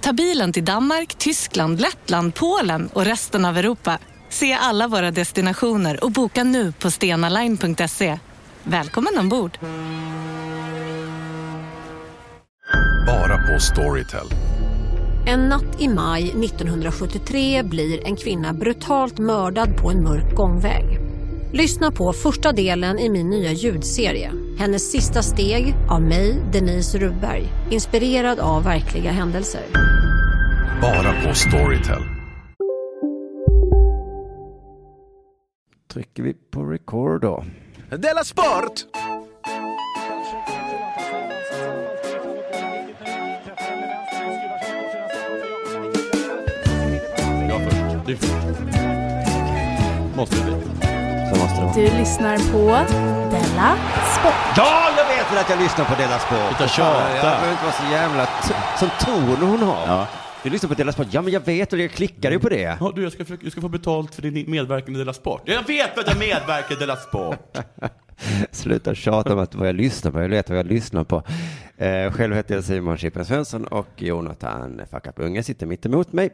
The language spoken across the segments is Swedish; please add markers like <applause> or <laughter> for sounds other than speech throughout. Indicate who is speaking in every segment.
Speaker 1: Ta bilen till Danmark, Tyskland, Lettland, Polen och resten av Europa. Se alla våra destinationer och boka nu på stenaline.se. Välkommen ombord!
Speaker 2: Bara på Storytel.
Speaker 3: En natt i maj 1973 blir en kvinna brutalt mördad på en mörk gångväg. Lyssna på första delen i min nya ljudserie. Hennes sista steg av mig, Denise Rubberg. Inspirerad av verkliga händelser.
Speaker 2: Bara på Storytel.
Speaker 4: trycker vi på record då.
Speaker 5: Della Sport!
Speaker 4: Så måste det vara.
Speaker 6: Du lyssnar på Della Sport.
Speaker 5: Ja, jag
Speaker 4: Jag
Speaker 5: vet!
Speaker 4: vet väl att jag lyssnar på Della Sport.
Speaker 5: Sluta tjata.
Speaker 4: Jag behöver inte vara så jävla... T- som ton hon har. Du lyssnar på Della Sport. Ja, men jag vet och jag klickade ju på det.
Speaker 5: Ja, du, jag ska, försöka- jag ska få betalt för din medverkan i Della Sport. Jag vet att jag medverkar i Della Sport!
Speaker 4: Sluta tjata om att vad jag lyssnar på. Jag vet vad jag lyssnar på. Eh, själv heter jag Simon Chippen Svensson och Jonathan Fuck Up Unge sitter mitt emot mig.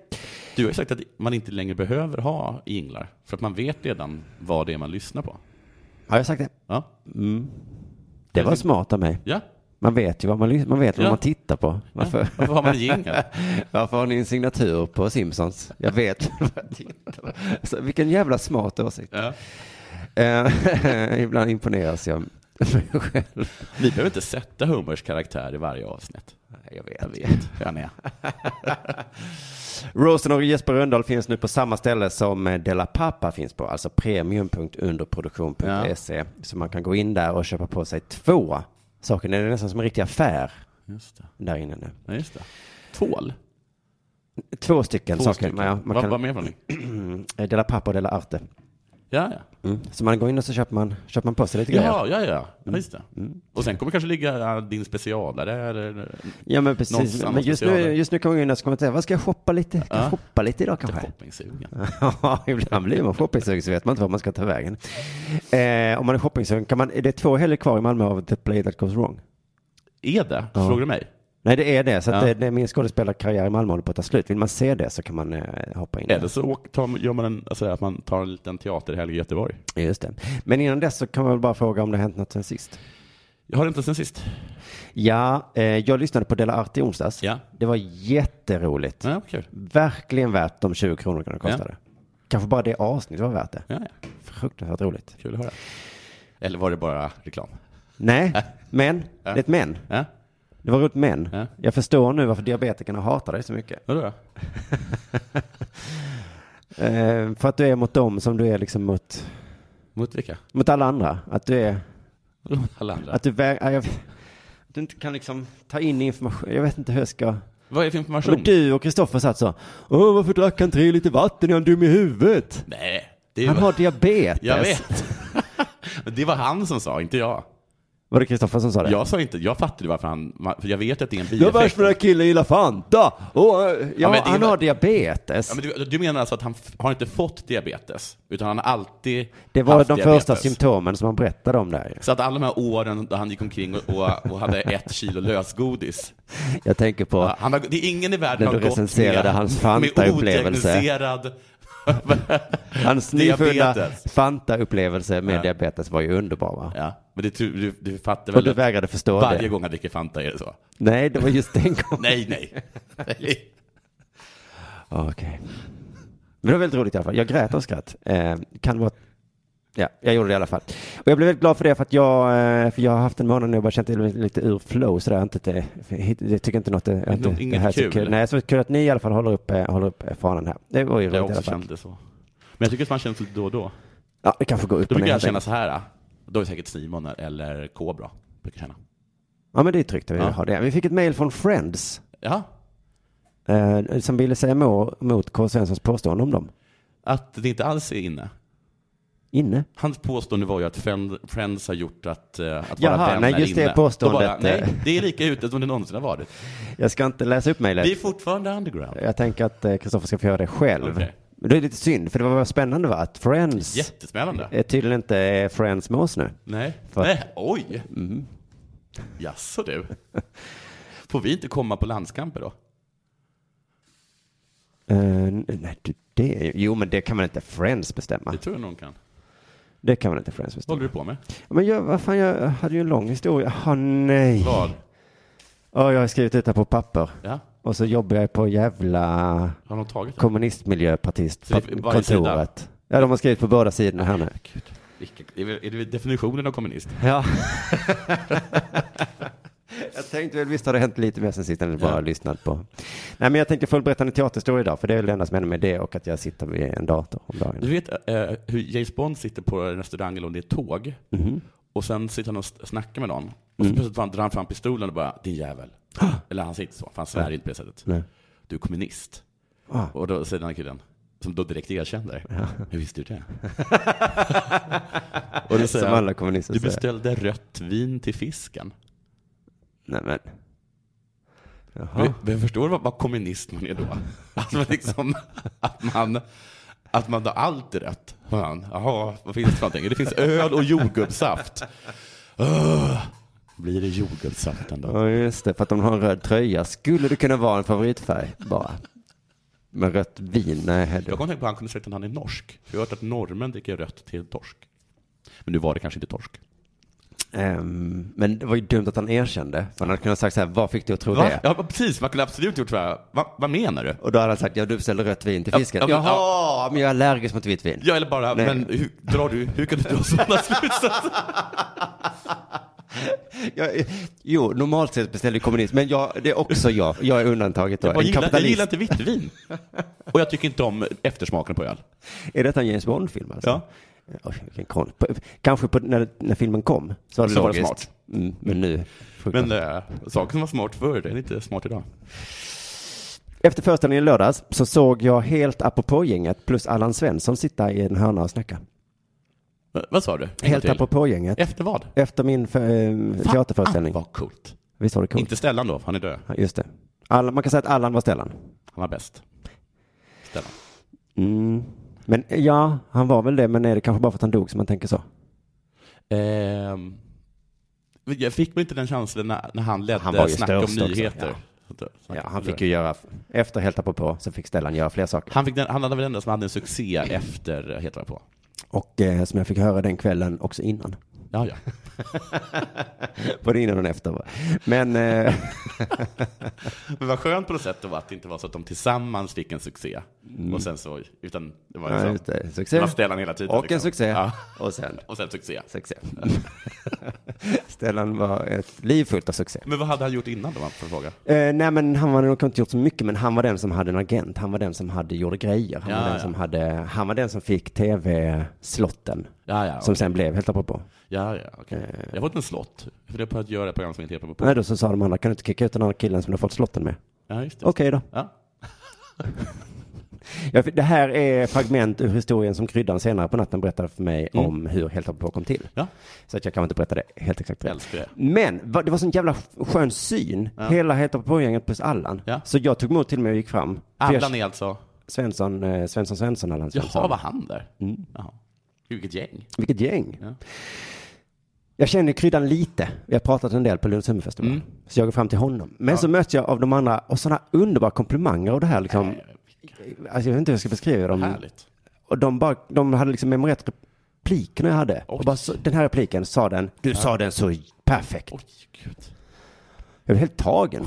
Speaker 5: Du har ju sagt att man inte längre behöver ha jinglar, för att man vet redan vad det är man lyssnar på.
Speaker 4: Har jag sagt det?
Speaker 5: Ja.
Speaker 4: Det var smart av mig.
Speaker 5: ja.
Speaker 4: Man vet ju vad man, lys- man, vet
Speaker 5: Ja.
Speaker 4: vad man tittar på. Varför?
Speaker 5: Varför har man en jingel?
Speaker 4: <laughs> Varför har ni en signatur på Simpsons? Jag vet <laughs> vad jag tittar på. Alltså, vilken jävla smart åsikt.
Speaker 5: ja.
Speaker 4: Eh, <laughs> Ibland imponeras jag med mig själv.
Speaker 5: Vi behöver inte sätta Homers karaktär i varje avsnitt.
Speaker 4: Jag
Speaker 5: Jag
Speaker 4: vet.
Speaker 5: vet hur han är.
Speaker 4: Rosen och Jesper Rönndahl finns nu på samma ställe som eh, Della Pappa finns på, alltså premium.underproduktion.se. E. Så man kan gå in där och köpa på sig två saker. Det är nästan som en riktig affär
Speaker 5: Just det.
Speaker 4: där inne nu.
Speaker 5: Ja, just det. Tvål?
Speaker 4: Två stycken
Speaker 5: Två
Speaker 4: saker.
Speaker 5: stycken.
Speaker 4: Man, man
Speaker 5: Vad-
Speaker 4: kan,
Speaker 5: Vad mer var ni?
Speaker 4: <clears throat> eh, Della Pappa och Della Arte.
Speaker 5: Ja, ja.
Speaker 4: Så man går in och så köper man, köper man på sig lite grejer.
Speaker 5: Ja, ja, ja.
Speaker 4: Mm.
Speaker 5: ja just det. Och sen kommer kanske ligga äh, din specialare eller...
Speaker 4: Ja men
Speaker 5: Någon
Speaker 4: precis,
Speaker 5: samma
Speaker 4: men just nu,
Speaker 5: specialare.
Speaker 4: just nu kommer jag in och så kommer jag säga, vad ska jag shoppa lite? Ska jag
Speaker 5: Ja.
Speaker 4: shoppa lite idag kanske?
Speaker 5: Shoppingsugen.
Speaker 4: <laughs> Ja, ibland blir man shoppingsugen så vet man inte vart man ska ta vägen. Eh, om man är shoppingsugen, kan man, är det är två helger kvar i Malmö av The Play That Goes Wrong?
Speaker 5: Är det? Frågar du mig?
Speaker 4: Nej, det är det. Så att det,
Speaker 5: Ja.
Speaker 4: det, min skådespelarkarriär i Malmö håller på att ta slut. Vill man se det så kan man eh, hoppa in. där.
Speaker 5: Eller så åk- tar, gör man en, alltså, att man tar en liten teaterhelg i Göteborg.
Speaker 4: Just det. Men innan dess så kan man väl bara fråga om det har hänt något sen sist.
Speaker 5: Jag har inte sen sist.
Speaker 4: Ja, eh, jag lyssnade på Dela Arte i onsdags.
Speaker 5: Ja.
Speaker 4: Det var jätteroligt.
Speaker 5: Ja, kul.
Speaker 4: Verkligen värt de 20 kronorna det kostade. Kanske bara det avsnittet var värt det.
Speaker 5: Ja, ja.
Speaker 4: Fruktansvärt roligt.
Speaker 5: Kul att höra. Eller var det bara reklam? <laughs>
Speaker 4: Nej, men. Det
Speaker 5: Ja.
Speaker 4: är ett men.
Speaker 5: Ja,
Speaker 4: Det var roligt men.
Speaker 5: Ja.
Speaker 4: Jag förstår nu varför diabetikerna hatar dig så mycket.
Speaker 5: vadå då?
Speaker 4: Eh, för att du är mot dem som du är liksom mot,
Speaker 5: Mot vilka?
Speaker 4: mot alla andra. Att du är,
Speaker 5: Vadå mot Alla andra.
Speaker 4: att du, vä- ja, jag, att du inte kan liksom ta in information. Jag vet inte hur jag ska.
Speaker 5: Vad är det för information?
Speaker 4: Men du och Kristoffer satt så. Åh, varför drack han tre liter vatten? Är han dum i huvudet?
Speaker 5: Nej, det är
Speaker 4: Han
Speaker 5: ju...
Speaker 4: har diabetes.
Speaker 5: Jag vet. Men <laughs> det var han som sa, inte jag.
Speaker 4: Var det Kristoffer som sa det?
Speaker 5: Jag sa inte, jag fattade varför han, för jag vet att det är en bieffekt.
Speaker 4: Jag är värst med den här killen gillar Fanta. Åh, ja,
Speaker 5: men det är
Speaker 4: han
Speaker 5: väl-
Speaker 4: har diabetes.
Speaker 5: Ja, men du, du menar alltså att han f- har inte fått diabetes, utan han har alltid
Speaker 4: Det var
Speaker 5: haft
Speaker 4: de
Speaker 5: diabetes.
Speaker 4: första symptomen som han berättade om där.
Speaker 5: Så att alla de här åren då han gick omkring och, och, och hade ett kilo lösgodis,
Speaker 4: Jag tänker på
Speaker 5: Ja, Han har, det är ingen i världen
Speaker 4: När
Speaker 5: har
Speaker 4: du
Speaker 5: gått
Speaker 4: recenserade
Speaker 5: med,
Speaker 4: hans Fanta-upplevelse.
Speaker 5: med odiagnoserad <laughs>
Speaker 4: Hans nyfunna
Speaker 5: diabetes.
Speaker 4: Fanta-upplevelse med
Speaker 5: Ja.
Speaker 4: diabetes var ju underbar va?
Speaker 5: Ja, men det, tror- du, du fattar
Speaker 4: Och
Speaker 5: väl
Speaker 4: du
Speaker 5: att
Speaker 4: vägrade förstå
Speaker 5: varje
Speaker 4: det?
Speaker 5: gång han dricker Fanta är det så?
Speaker 4: Nej, det var just den gången.
Speaker 5: Nej, nej. nej.
Speaker 4: Ah, Okej. Men det var väldigt roligt i alla fall. Jag grät av skratt. Eh, kan vara... Ja, jag gjorde det i alla fall. Och jag blev väldigt glad för det för att jag, eh, för jag har haft en månad nu och bara känt mig lite ur flow sådär. Jag har Inte, det- jag tycker inte något är- jag inte,
Speaker 5: inget
Speaker 4: det här är så
Speaker 5: kul.
Speaker 4: Nej, så kul att ni i alla fall håller upp, eh, håller upp fanan här. Det var ju roligt
Speaker 5: Jag
Speaker 4: i alla
Speaker 5: också
Speaker 4: fall.
Speaker 5: kände så. Men jag tycker att man känner lite då och då.
Speaker 4: Ja, det kanske går upp
Speaker 5: Då
Speaker 4: och
Speaker 5: brukar
Speaker 4: ner.
Speaker 5: jag känna så här, ah, då är säkert Simon eller K bra. Brukar jag känna.
Speaker 4: Ja, men det är tryggt att vi
Speaker 5: Ja.
Speaker 4: har det. Vi fick ett mail från Friends.
Speaker 5: Ja,
Speaker 4: eh, som ville säga må- mot K. Svenssons påstående om dem.
Speaker 5: Att det inte alls är inne.
Speaker 4: Inne.
Speaker 5: Hans påstående var ju att Friend, Friends har gjort att, eh, att vara
Speaker 4: Jaha,
Speaker 5: vänner
Speaker 4: nej, just det
Speaker 5: inne. Då
Speaker 4: påståendet,
Speaker 5: Bara, nej,
Speaker 4: eh.
Speaker 5: det är lika ute som det någonsin har varit.
Speaker 4: Jag ska inte läsa upp mejlet.
Speaker 5: Vi är fortfarande underground.
Speaker 4: Jag tänker att eh, Kristoffer ska få göra det själv.
Speaker 5: Okej.
Speaker 4: Men Det är lite synd, för det var spännande va? Att Friends
Speaker 5: Jättespännande.
Speaker 4: är tydligen inte är Friends med oss nu.
Speaker 5: Nej.
Speaker 4: Eh. För- Mm.
Speaker 5: nej. Oj! Jaså du. Får vi inte komma på landskamper då?
Speaker 4: Eh, n- nej, du, det, är- jo, men det kan man inte Friends bestämma.
Speaker 5: Det tror jag någon kan.
Speaker 4: Det kan man inte Friends
Speaker 5: Vad
Speaker 4: bestämma.
Speaker 5: håller du på med?
Speaker 4: Men jag, vad fan, jag hade ju en lång historia. Åh nej.
Speaker 5: Vad?
Speaker 4: Ja, jag har skrivit ut det på papper.
Speaker 5: Ja,
Speaker 4: Och så jobbar jag på jävla
Speaker 5: har någon tagit det? Så det är varje
Speaker 4: kommunistmiljöpartistkontoret. Ja, de har skrivit på båda sidorna här nu.
Speaker 5: Vilka, är det- är det definitionen av kommunist?
Speaker 4: Ja. jag tänkte väl visst har det hänt lite mer sen sist än bara
Speaker 5: Ja.
Speaker 4: lyssnat på. Nej, men jag tänkte fullberätta en teaterhistoria idag, för det är väl det enda som händer med det och att jag sitter vid en dator om dagen.
Speaker 5: Du vet eh, hur James Bond sitter på en restaurang eller om det är ett tåg
Speaker 4: Mhm.
Speaker 5: och sen sitter han och s- snackar med någon och
Speaker 4: Mm.
Speaker 5: så plötsligt drar han fram pistolen och bara din jävel. eller han säger inte så, för han svär inte på det sättet.
Speaker 4: Nej.
Speaker 5: Du är kommunist.
Speaker 4: Ah.
Speaker 5: Och då säger den här killen, som då direkt erkänner, hur visste
Speaker 4: <laughs>
Speaker 5: du det? och då säger
Speaker 4: Som
Speaker 5: han,
Speaker 4: alla kommunister
Speaker 5: du
Speaker 4: säger.
Speaker 5: beställde rött vin till fisken.
Speaker 4: Nej, men.
Speaker 5: Men,
Speaker 4: Jaha.
Speaker 5: men förstår du vad, vad kommunist man är då? <laughs> Att man liksom, att man, att man har allt är rätt. Man, jaha, vad finns det för någonting? Det finns öl och jordgubbssaft. Öh, blir det jordgubbssaften då?
Speaker 4: Ja, just det, för att de har en röd tröja. Skulle det kunna vara en favoritfärg bara? Med rött vin? Nej,
Speaker 5: Jag
Speaker 4: heller.
Speaker 5: kom att tänka på att han kunde säga att han är norsk. För jag har hört att norrmän dricker rött till torsk. Men nu var det kanske inte torsk.
Speaker 4: Ehm, men det var ju dumt att han erkände. För han hade kunnat sagt så här, vad fick du att tro
Speaker 5: Va?
Speaker 4: det?
Speaker 5: Ja, precis. Man kunde absolut gjort så här. Va, vad menar du?
Speaker 4: Och då hade han sagt, ja du beställde rött vin till
Speaker 5: Ja,
Speaker 4: fisken.
Speaker 5: ja, men-
Speaker 4: Jaha, men jag är allergisk mot vitt vin.
Speaker 5: Ja, eller bara,
Speaker 4: Nej.
Speaker 5: men hur, drar du, hur kan du dra sådana <laughs> slutsatser?
Speaker 4: Jag, jo, normalt sett beställer ju kommunist, men jag, det är också jag. Jag är undantaget då.
Speaker 5: Jag, bara
Speaker 4: en
Speaker 5: gillar, jag
Speaker 4: kapitalist.
Speaker 5: gillar inte vitt vin. <laughs> Och jag tycker inte om eftersmaken på öl.
Speaker 4: Är detta en James Bond-film alltså?
Speaker 5: Ja.
Speaker 4: Oj, vilken kon... på, kanske på, när, när filmen kom så var det
Speaker 5: Så var det
Speaker 4: logiskt.
Speaker 5: smart.
Speaker 4: Mm, men nu. fruktansvärt.
Speaker 5: Men äh, saker som var smart förr, det är inte smart idag. eh,
Speaker 4: Efter föreställningen i lördags så såg jag helt apropå-gänget plus Allan Svensson sitta i en hörna och snacka.
Speaker 5: Va- vad sa du? En gång
Speaker 4: Helt
Speaker 5: till.
Speaker 4: apropå-gänget.
Speaker 5: Efter vad?
Speaker 4: Efter min för, eh, teaterföreställning.
Speaker 5: Vad coolt.
Speaker 4: Visst var det coolt?
Speaker 5: Ah. Inte Stellan då, för han är död.
Speaker 4: Ja, Just det. Allan, man kan säga att Allan var Stellan.
Speaker 5: Han var bäst. Stellan.
Speaker 4: Mm. Men ja, han var väl det, men är det kanske bara för att han dog som man tänker så?
Speaker 5: Ehm, jag fick mig inte den känslan när, när han ledde
Speaker 4: Han var ju
Speaker 5: Snack om
Speaker 4: störst också,
Speaker 5: nyheter. eh,
Speaker 4: Ja, han fick ju göra, efter Helt apropå så fick Stellan göra fler saker.
Speaker 5: Han, fick den, han hade väl den enda som hade en succé efter, eh, heter det på.
Speaker 4: Och eh, som jag fick höra den kvällen också innan.
Speaker 5: Ja, ja.
Speaker 4: Både innan och efter. va? Men
Speaker 5: <laughs>
Speaker 4: eh,
Speaker 5: Men vad skönt på något sätt då att det inte var så att de tillsammans fick en succé. Och sen så, utan det var
Speaker 4: Mm. ja,
Speaker 5: liksom,
Speaker 4: just det.
Speaker 5: det
Speaker 4: succé.
Speaker 5: var Stellan hela tiden.
Speaker 4: Och en
Speaker 5: liksom.
Speaker 4: succé. <laughs>
Speaker 5: Ja.
Speaker 4: Och sen
Speaker 5: Och sen succé.
Speaker 4: succé. <laughs> Stellan var ett liv fullt av succé.
Speaker 5: Men vad hade han gjort innan då, för fråga?
Speaker 4: Eh, nej men han var nog inte gjort så mycket men han var den som hade en agent. Han var den som hade gjorde grejer. Han,
Speaker 5: Ja,
Speaker 4: var, den
Speaker 5: ja.
Speaker 4: som hade, han var den som fick tv-slotten.
Speaker 5: Ja, ja,
Speaker 4: Som
Speaker 5: okej.
Speaker 4: sen blev Helt apropå.
Speaker 5: Ja, ja, okej. Jag har fått en slott. För det är på att göra ett program som inte heter på.
Speaker 4: Eh. Nej då så sa de andra, kan du inte kicka ut den andra killen som du har fått slotten med?
Speaker 5: Ja, just det.
Speaker 4: Okej då.
Speaker 5: Ja.
Speaker 4: Ja, för det här är fragment ur historien som Kryddan senare på natten berättade för mig om hur Helt apropå kom till.
Speaker 5: Mm. Ja.
Speaker 4: Så att jag kan inte berätta det helt exakt rätt.
Speaker 5: Älskar det.
Speaker 4: Men va- det var sån jävla skön syn. Hela Helt apropå-gänget plus Allan.
Speaker 5: Ja.
Speaker 4: Så jag tog emot till mig och gick fram. För jag-
Speaker 5: Allan är alltså...
Speaker 4: Svensson, eh, Svensson, Svensson, Allan
Speaker 5: Jaha,
Speaker 4: Svensson.
Speaker 5: var han där?
Speaker 4: Mm.
Speaker 5: Jaha. Vilket gäng.
Speaker 4: Vilket gäng.
Speaker 5: Ja.
Speaker 4: Jag känner ju kryddan lite. Vi har pratat en del på Lunds hummerfestival.
Speaker 5: Mm.
Speaker 4: Så jag går fram till honom. Men så möts jag av de andra och sådana underbara komplimanger och det här liksom. Alltså jag vet inte hur jag ska beskriva dem.
Speaker 5: Härligt.
Speaker 4: Och de, bara, de hade liksom memorerat replikerna jag hade.
Speaker 5: Oj.
Speaker 4: Och bara, så, den här repliken sa den, du sa den så perfekt.
Speaker 5: Oj, gud.
Speaker 4: Jag blev helt tagen.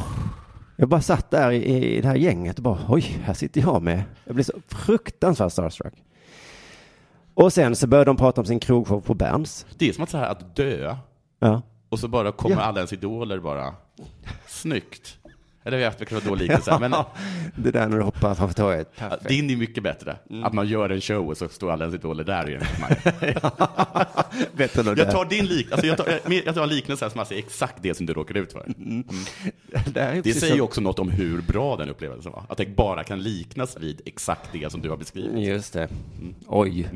Speaker 4: Jag bara satt där i, i det här gänget och bara oj, här sitter jag med. Jag blev så fruktansvärt starstruck. Och sen så började de prata om sin krogshow på Berns.
Speaker 5: Det är som att, så här, att dö
Speaker 4: Ja.
Speaker 5: och så bara kommer
Speaker 4: Ja.
Speaker 5: alla ens idoler bara. Snyggt. Eller jag vet, det var dålig
Speaker 4: <laughs>
Speaker 5: liknelse. Men
Speaker 4: det där när du hoppar framför torget.
Speaker 5: din är mycket bättre.
Speaker 4: Mm.
Speaker 5: Att man gör en show och så står alla ens idoler där i en
Speaker 4: <laughs> Bättre än det
Speaker 5: Jag
Speaker 4: där.
Speaker 5: tar din lik, alltså jag tar, jag tar en liknelse här som alltså är exakt det som du råkar ut för.
Speaker 4: Det, här är
Speaker 5: Det
Speaker 4: Mm. precis
Speaker 5: säger ju
Speaker 4: som-
Speaker 5: också något om hur bra den upplevelsen var. Att det bara kan liknas vid exakt det som du har beskrivit.
Speaker 4: Just det. Oj.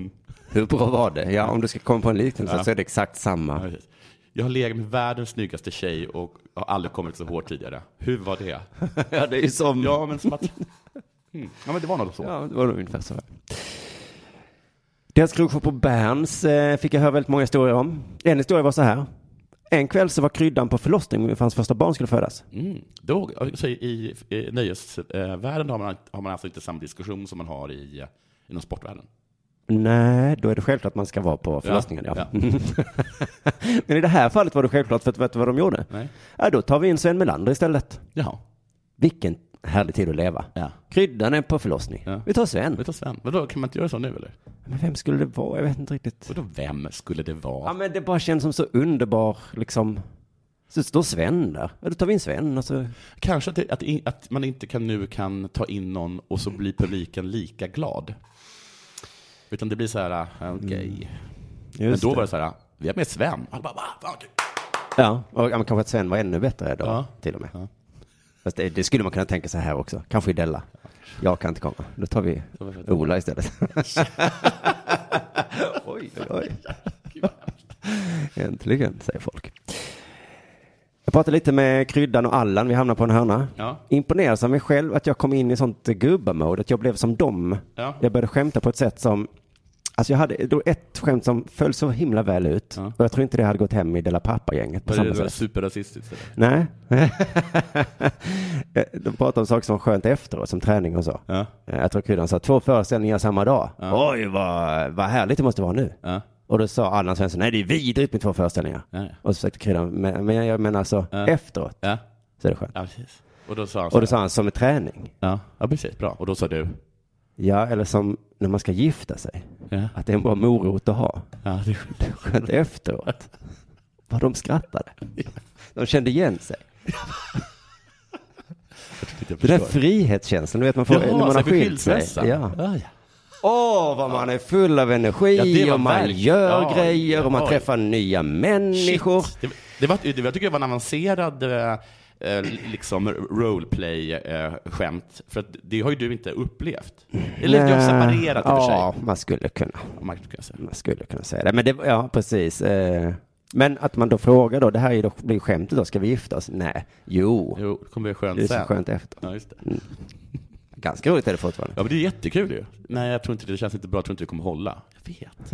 Speaker 4: Hur bra var det? Ja, om du ska komma på en liknelse
Speaker 5: Ja.
Speaker 4: så är det exakt
Speaker 5: Ja,
Speaker 4: samma.
Speaker 5: precis. Jag har legat med världens snyggaste tjej och har aldrig kommit så hårt tidigare. Hur var det?
Speaker 4: <laughs> Ja, det är ju som...
Speaker 5: Ja, men som att... Mm. Ja, men det var något så.
Speaker 4: Ja, det var nog ungefär så. här. Deras krogshow på Berns eh, fick jag höra väldigt många historier om. En historia var så här. En kväll så var kryddan på förlossning för hans första barn skulle födas.
Speaker 5: Mm. Då, alltså, I i nöjesvärlden har man, har man alltså inte samma diskussion som man har i, eh, inom sportvärlden.
Speaker 4: Nej, då är det självklart att man ska vara på förlossningen. Ja. <laughs> Men i det här fallet var det självklart för att vet du vad de gjorde?
Speaker 5: Nej.
Speaker 4: Ja, då tar vi in Sven Melander istället.
Speaker 5: Jaha.
Speaker 4: Vilken härlig tid att leva.
Speaker 5: Ja.
Speaker 4: Kryddan är på förlossning.
Speaker 5: Ja.
Speaker 4: Vi tar Sven.
Speaker 5: Vet du Sven, vadå, kan man inte göra så nu eller?
Speaker 4: Men vem skulle det vara? Jag vet inte riktigt.
Speaker 5: Vadå, vem skulle det
Speaker 4: Ja,
Speaker 5: vara?
Speaker 4: men det bara känns som så underbar, liksom. Så står Sven där. Ja, då tar vi in Sven. Alltså.
Speaker 5: Kanske att, det, att, in, att man inte kan, nu kan ta in någon och så blir publiken lika glad. Utan det blir så här, äh, okej. Men
Speaker 4: Mm. Just
Speaker 5: då var det så här, vi har med Sven. Alla bara, va? Va?
Speaker 4: Ja, och ja, men kanske att Sven var ännu bättre då,
Speaker 5: Ja.
Speaker 4: till och med.
Speaker 5: Ja.
Speaker 4: Fast det, det skulle man kunna tänka sig här också. Kanske i Della. Jag kan inte komma. Då tar vi Ola istället. oj, oj, oj. Äntligen, säger folk. Jag pratade lite med Kryddan och Allan, vi hamnade på en hörna.
Speaker 5: Ja.
Speaker 4: Imponerad av mig själv att jag kom in i sånt gubbamode, att jag blev som dem.
Speaker 5: Ja.
Speaker 4: Jag började skämta på ett sätt som, alltså jag hade då ett skämt som föll så himla väl ut.
Speaker 5: Ja.
Speaker 4: Och jag tror inte det hade gått hem i Della Pappa-gänget <laughs> på
Speaker 5: Var det,
Speaker 4: samma
Speaker 5: det var
Speaker 4: sätt.
Speaker 5: superrasistiskt. eller?
Speaker 4: Nej. <laughs> Eh, De pratar om saker som var skönt efteråt, som träning och så. Eh,
Speaker 5: Ja.
Speaker 4: Jag tror Kryddan sa två föreställningar samma dag. Oj, vad, vad härligt det måste vara nu.
Speaker 5: Ja.
Speaker 4: Och då sa Allan Svensson, nej det är vidrigt med två föreställningar.
Speaker 5: Ja, ja.
Speaker 4: Och så försökte Kryddan, men, men jag menar alltså efteråt
Speaker 5: Ja.
Speaker 4: så är det skönt.
Speaker 5: ja, precis. Och då sa han så
Speaker 4: Och då
Speaker 5: här,
Speaker 4: sa han, som en träning.
Speaker 5: ja. ja, precis, bra. Och då sa du,
Speaker 4: Ja, eller som när man ska gifta sig.
Speaker 5: ja,
Speaker 4: Att det är en bra morot att ha.
Speaker 5: ja det är skönt.
Speaker 4: Skönt efteråt. Vad de <laughs> skrattade. De kände igen sig.
Speaker 5: Jag
Speaker 4: Den där
Speaker 5: förstår.
Speaker 4: frihetskänslan, du vet man får
Speaker 5: Jaha,
Speaker 4: när man
Speaker 5: så
Speaker 4: har
Speaker 5: jag blir
Speaker 4: skilt sig.
Speaker 5: skilsmässa.
Speaker 4: Ja.
Speaker 5: Ja, ja.
Speaker 4: Åh, vad man är full av energi
Speaker 5: Ja, det var
Speaker 4: och man
Speaker 5: verkligen-
Speaker 4: gör
Speaker 5: Ja,
Speaker 4: grejer och man
Speaker 5: oj.
Speaker 4: träffar nya
Speaker 5: Shit.
Speaker 4: människor.
Speaker 5: Det, det var, det, jag tycker det var en avancerad eh, eh, liksom roleplay-skämt, för att det har ju du inte upplevt. Eller du har separerat i och för
Speaker 4: Eh, Ja,
Speaker 5: sig.
Speaker 4: man skulle kunna.
Speaker 5: om man kan säga.
Speaker 4: Man skulle kunna säga det. Men det, ja, precis. Eh, Men att man då frågar då, det här är ju då, blir skämtet då, ska vi gifta oss? Nej, jo.
Speaker 5: Jo, det kommer bli
Speaker 4: Det är
Speaker 5: skönt
Speaker 4: så
Speaker 5: sen.
Speaker 4: skönt Mm. efter.
Speaker 5: Ja, just det.
Speaker 4: Ganska roligt är det fortfarande.
Speaker 5: ja, men det är jättekul ju. Nej, jag tror inte det. Det känns inte bra. Jag tror inte det kommer hålla. Jag vet.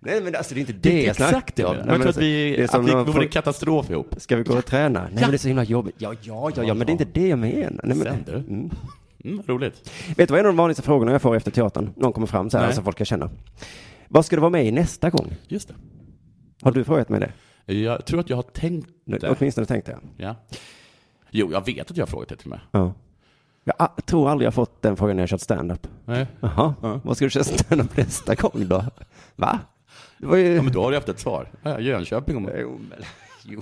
Speaker 4: Nej, men alltså det är inte
Speaker 5: Det
Speaker 4: det
Speaker 5: är
Speaker 4: jag
Speaker 5: exakt det.
Speaker 4: snackar om.
Speaker 5: Jag
Speaker 4: Nej, men
Speaker 5: tror att
Speaker 4: alltså,
Speaker 5: vi,
Speaker 4: det är
Speaker 5: att
Speaker 4: som
Speaker 5: vi,
Speaker 4: när
Speaker 5: det
Speaker 4: man
Speaker 5: vore
Speaker 4: får-
Speaker 5: en katastrof ihop.
Speaker 4: Ska vi gå och träna? Nej, men det är så himla jobbigt. Ja, ja, ja, ja, men det är inte det jag menar. Nej, men...
Speaker 5: Sen du. Mm. vad roligt.
Speaker 4: Vet du vad en av de vanligaste frågorna jag får efter teatern? Någon kommer fram så här,
Speaker 5: Nej.
Speaker 4: alltså folk jag känner. Vad ska du vara med i nästa gång?
Speaker 5: Just
Speaker 4: Har du frågat mig det?
Speaker 5: det. Jag tror att jag har tänkt
Speaker 4: Nu,
Speaker 5: det.
Speaker 4: Åtminstone tänkte jag.
Speaker 5: Ja. Jo, jag vet att jag har frågat det till mig.
Speaker 4: Ja. Jag a- tror aldrig jag fått den frågan när jag kört stand-up.
Speaker 5: Nej.
Speaker 4: Jaha, vad ska du köra stand-up nästa gång då? Va? Det var ju...
Speaker 5: Ja, men då har du haft ett svar. Ja, Jönköping om...
Speaker 4: Jo, men,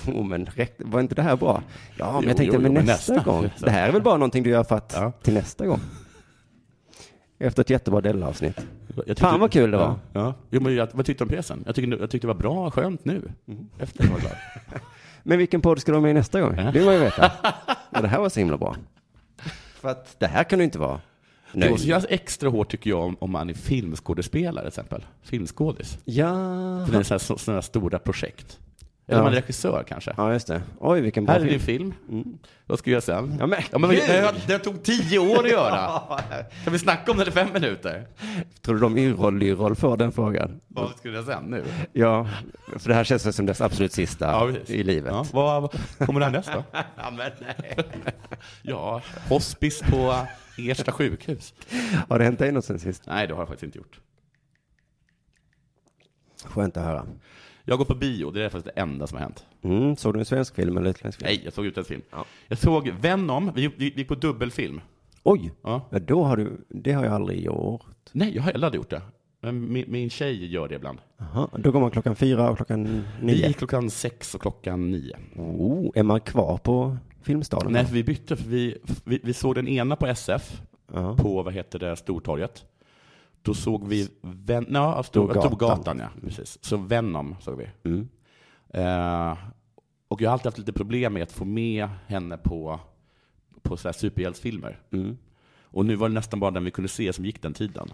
Speaker 4: jo, men räck... var inte det här bra? Ja, men
Speaker 5: Jo,
Speaker 4: jag tänkte,
Speaker 5: jo,
Speaker 4: men
Speaker 5: jo, men
Speaker 4: nästa,
Speaker 5: nästa.
Speaker 4: gång. Det här är väl bara någonting du gör för att
Speaker 5: Ja.
Speaker 4: till nästa gång. Efter ett jättebra Della-avsnitt.
Speaker 5: Jag tyckte-
Speaker 4: Fan, vad kul det var.
Speaker 5: Ja. ja. Jo, men jag, vad tyckte du om pjäsen? Jag tyckte, jag tyckte det var bra, skönt nu.
Speaker 4: Mm.
Speaker 5: Efter var
Speaker 4: <laughs>
Speaker 5: jag glad.
Speaker 4: Men vilken podd ska du vara med i nästa gång? Det vill man ju
Speaker 5: <laughs>
Speaker 4: veta. Ja, det här var så himla bra. För att det här kan du inte vara
Speaker 5: Det måste
Speaker 4: nöjd
Speaker 5: göras extra hårt tycker jag om, om man är filmskådespelare till exempel. Filmskådis.
Speaker 4: Ja.
Speaker 5: För det är sådana här, såna här stora projekt. Eller
Speaker 4: Ja.
Speaker 5: man är regissör kanske.
Speaker 4: Ja, just det. Oj, vilken bra
Speaker 5: Här är Mm. din
Speaker 4: film.
Speaker 5: film. Vad ska jag göra sen?
Speaker 4: Ja, men
Speaker 5: det
Speaker 4: kul!
Speaker 5: det tog tio <laughs> år att göra. Kan vi snacka om det i fem minuter?
Speaker 4: Tror du de yrroll yrroll får den frågan?
Speaker 5: Vad ska jag göra sen nu?
Speaker 4: Ja, för det här känns väl som dess absolut sista
Speaker 5: Ja, precis.
Speaker 4: i livet.
Speaker 5: Ja, vad, vad kommer det här nästa? <laughs> ja, men <laughs> nej. ja, hospice på Ersta sjukhus.
Speaker 4: Har det hänt dig något sen sist?
Speaker 5: Nej, det har jag faktiskt inte gjort.
Speaker 4: Skönt att höra.
Speaker 5: Jag går på bio, det är faktiskt det enda som har hänt.
Speaker 4: Mm, såg du en svensk film eller utländsk film?
Speaker 5: Nej, jag såg utländsk film. Jag såg Venom, vi, vi gick på dubbelfilm.
Speaker 4: Oj!
Speaker 5: Ja.
Speaker 4: Ja, då har du, det har jag aldrig gjort.
Speaker 5: Nej, jag har heller aldrig gjort det. Men min, min tjej gör det ibland.
Speaker 4: Aha, då går man klockan fyra och klockan
Speaker 5: Vi
Speaker 4: nio.
Speaker 5: gick klockan sex och klockan nio.
Speaker 4: Oh, är man kvar på Filmstaden?
Speaker 5: Nej, för vi bytte, för vi, vi, vi såg den ena på SF,
Speaker 4: Ja.
Speaker 5: på vad heter det, Stortorget. Då såg vi Ven- ja, Stor,
Speaker 4: Storgatan.
Speaker 5: Storgatan, ja, precis. Så Venom såg vi.
Speaker 4: Mm.
Speaker 5: Eh, och jag har alltid haft lite problem med att få med henne på, på så här superhjältsfilmer.
Speaker 4: Mm.
Speaker 5: Och nu var det nästan bara den vi kunde se som gick den tiden.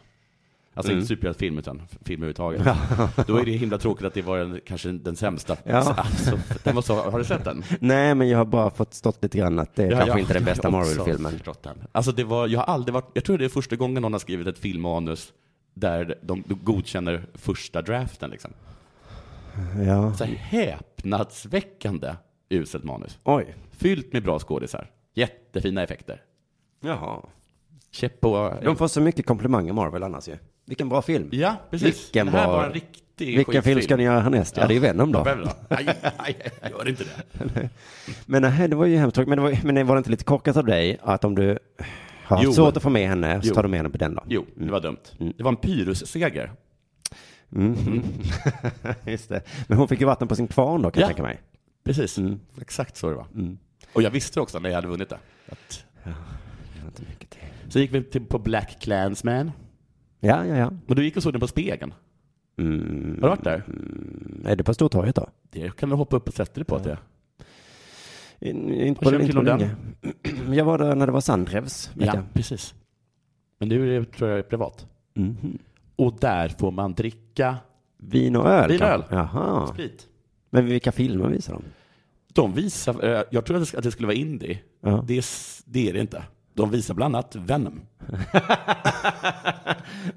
Speaker 5: Alltså
Speaker 4: Mm.
Speaker 5: inte superhjältefilm utan f-
Speaker 4: <laughs>
Speaker 5: film överhuvudtaget. Då är det himla tråkigt att det var den, kanske den sämsta.
Speaker 4: Ja.
Speaker 5: Så- Alltså, den var så, har du sett den?
Speaker 4: Nej, men jag har bara fått stått lite grann att det är kanske inte den bästa
Speaker 5: jag har också
Speaker 4: Marvel-filmen.
Speaker 5: förstått den. Alltså det var, jag har aldrig varit, jag tror det är första gången någon har skrivit ett filmmanus där de, de godkänner första draften liksom.
Speaker 4: Ja.
Speaker 5: Så här häpnadsväckande uselt manus.
Speaker 4: Oj.
Speaker 5: Fyllt med bra skådisar. Jättefina effekter.
Speaker 4: Jaha.
Speaker 5: Käpp på...
Speaker 4: De får så mycket komplimanger Marvel annars ju. Vilken bra film.
Speaker 5: Ja, precis.
Speaker 4: Vilken
Speaker 5: det här
Speaker 4: bra-
Speaker 5: var en riktig
Speaker 4: Vilken film
Speaker 5: skitfilm.
Speaker 4: ska ni göra härnäst? Ja, det är ju Venom då.
Speaker 5: Vem då? Nej, nej, gör inte det.
Speaker 4: Men nej, det var ju hemskt tråkigt. Men, det var- men var det inte lite korkat av dig att om du har
Speaker 5: Jo.
Speaker 4: haft svårt att få med henne så
Speaker 5: Jo.
Speaker 4: tar du med henne på den då?
Speaker 5: Jo, det var dumt.
Speaker 4: Mm.
Speaker 5: Det var en pyrrusseger.
Speaker 4: Just det. Men hon fick ju vatten på sin kvarn då kan jag
Speaker 5: Ja.
Speaker 4: tänka mig.
Speaker 5: Precis, mm. exakt så det var. Och jag visste också när jag hade vunnit det. Att...
Speaker 4: Det var inte mycket till.
Speaker 5: Så gick vi till, på Black Clansman.
Speaker 4: Ja, ja, ja.
Speaker 5: Men du gick och såg den på Spegeln.
Speaker 4: Mm.
Speaker 5: Har du varit där?
Speaker 4: Är det på Stortorget då?
Speaker 5: Det kan du hoppa upp och sätta dig på. att Det.
Speaker 4: In, inte
Speaker 5: Vad
Speaker 4: på,
Speaker 5: känner
Speaker 4: inte på
Speaker 5: till om
Speaker 4: länge. Jag var där när det var Sandrevs. vet
Speaker 5: Ja,
Speaker 4: jag.
Speaker 5: precis. Men nu är det, tror jag är privat.
Speaker 4: Mhm.
Speaker 5: Och där får man dricka
Speaker 4: Vin och öl?
Speaker 5: Vin och
Speaker 4: kanske? Jaha.
Speaker 5: sprit.
Speaker 4: Men vilka filmer visar de?
Speaker 5: De visar, eh, jag trodde att det skulle vara indie.
Speaker 4: Ja.
Speaker 5: Det, är, s- det är det inte. De visar bland annat Venom.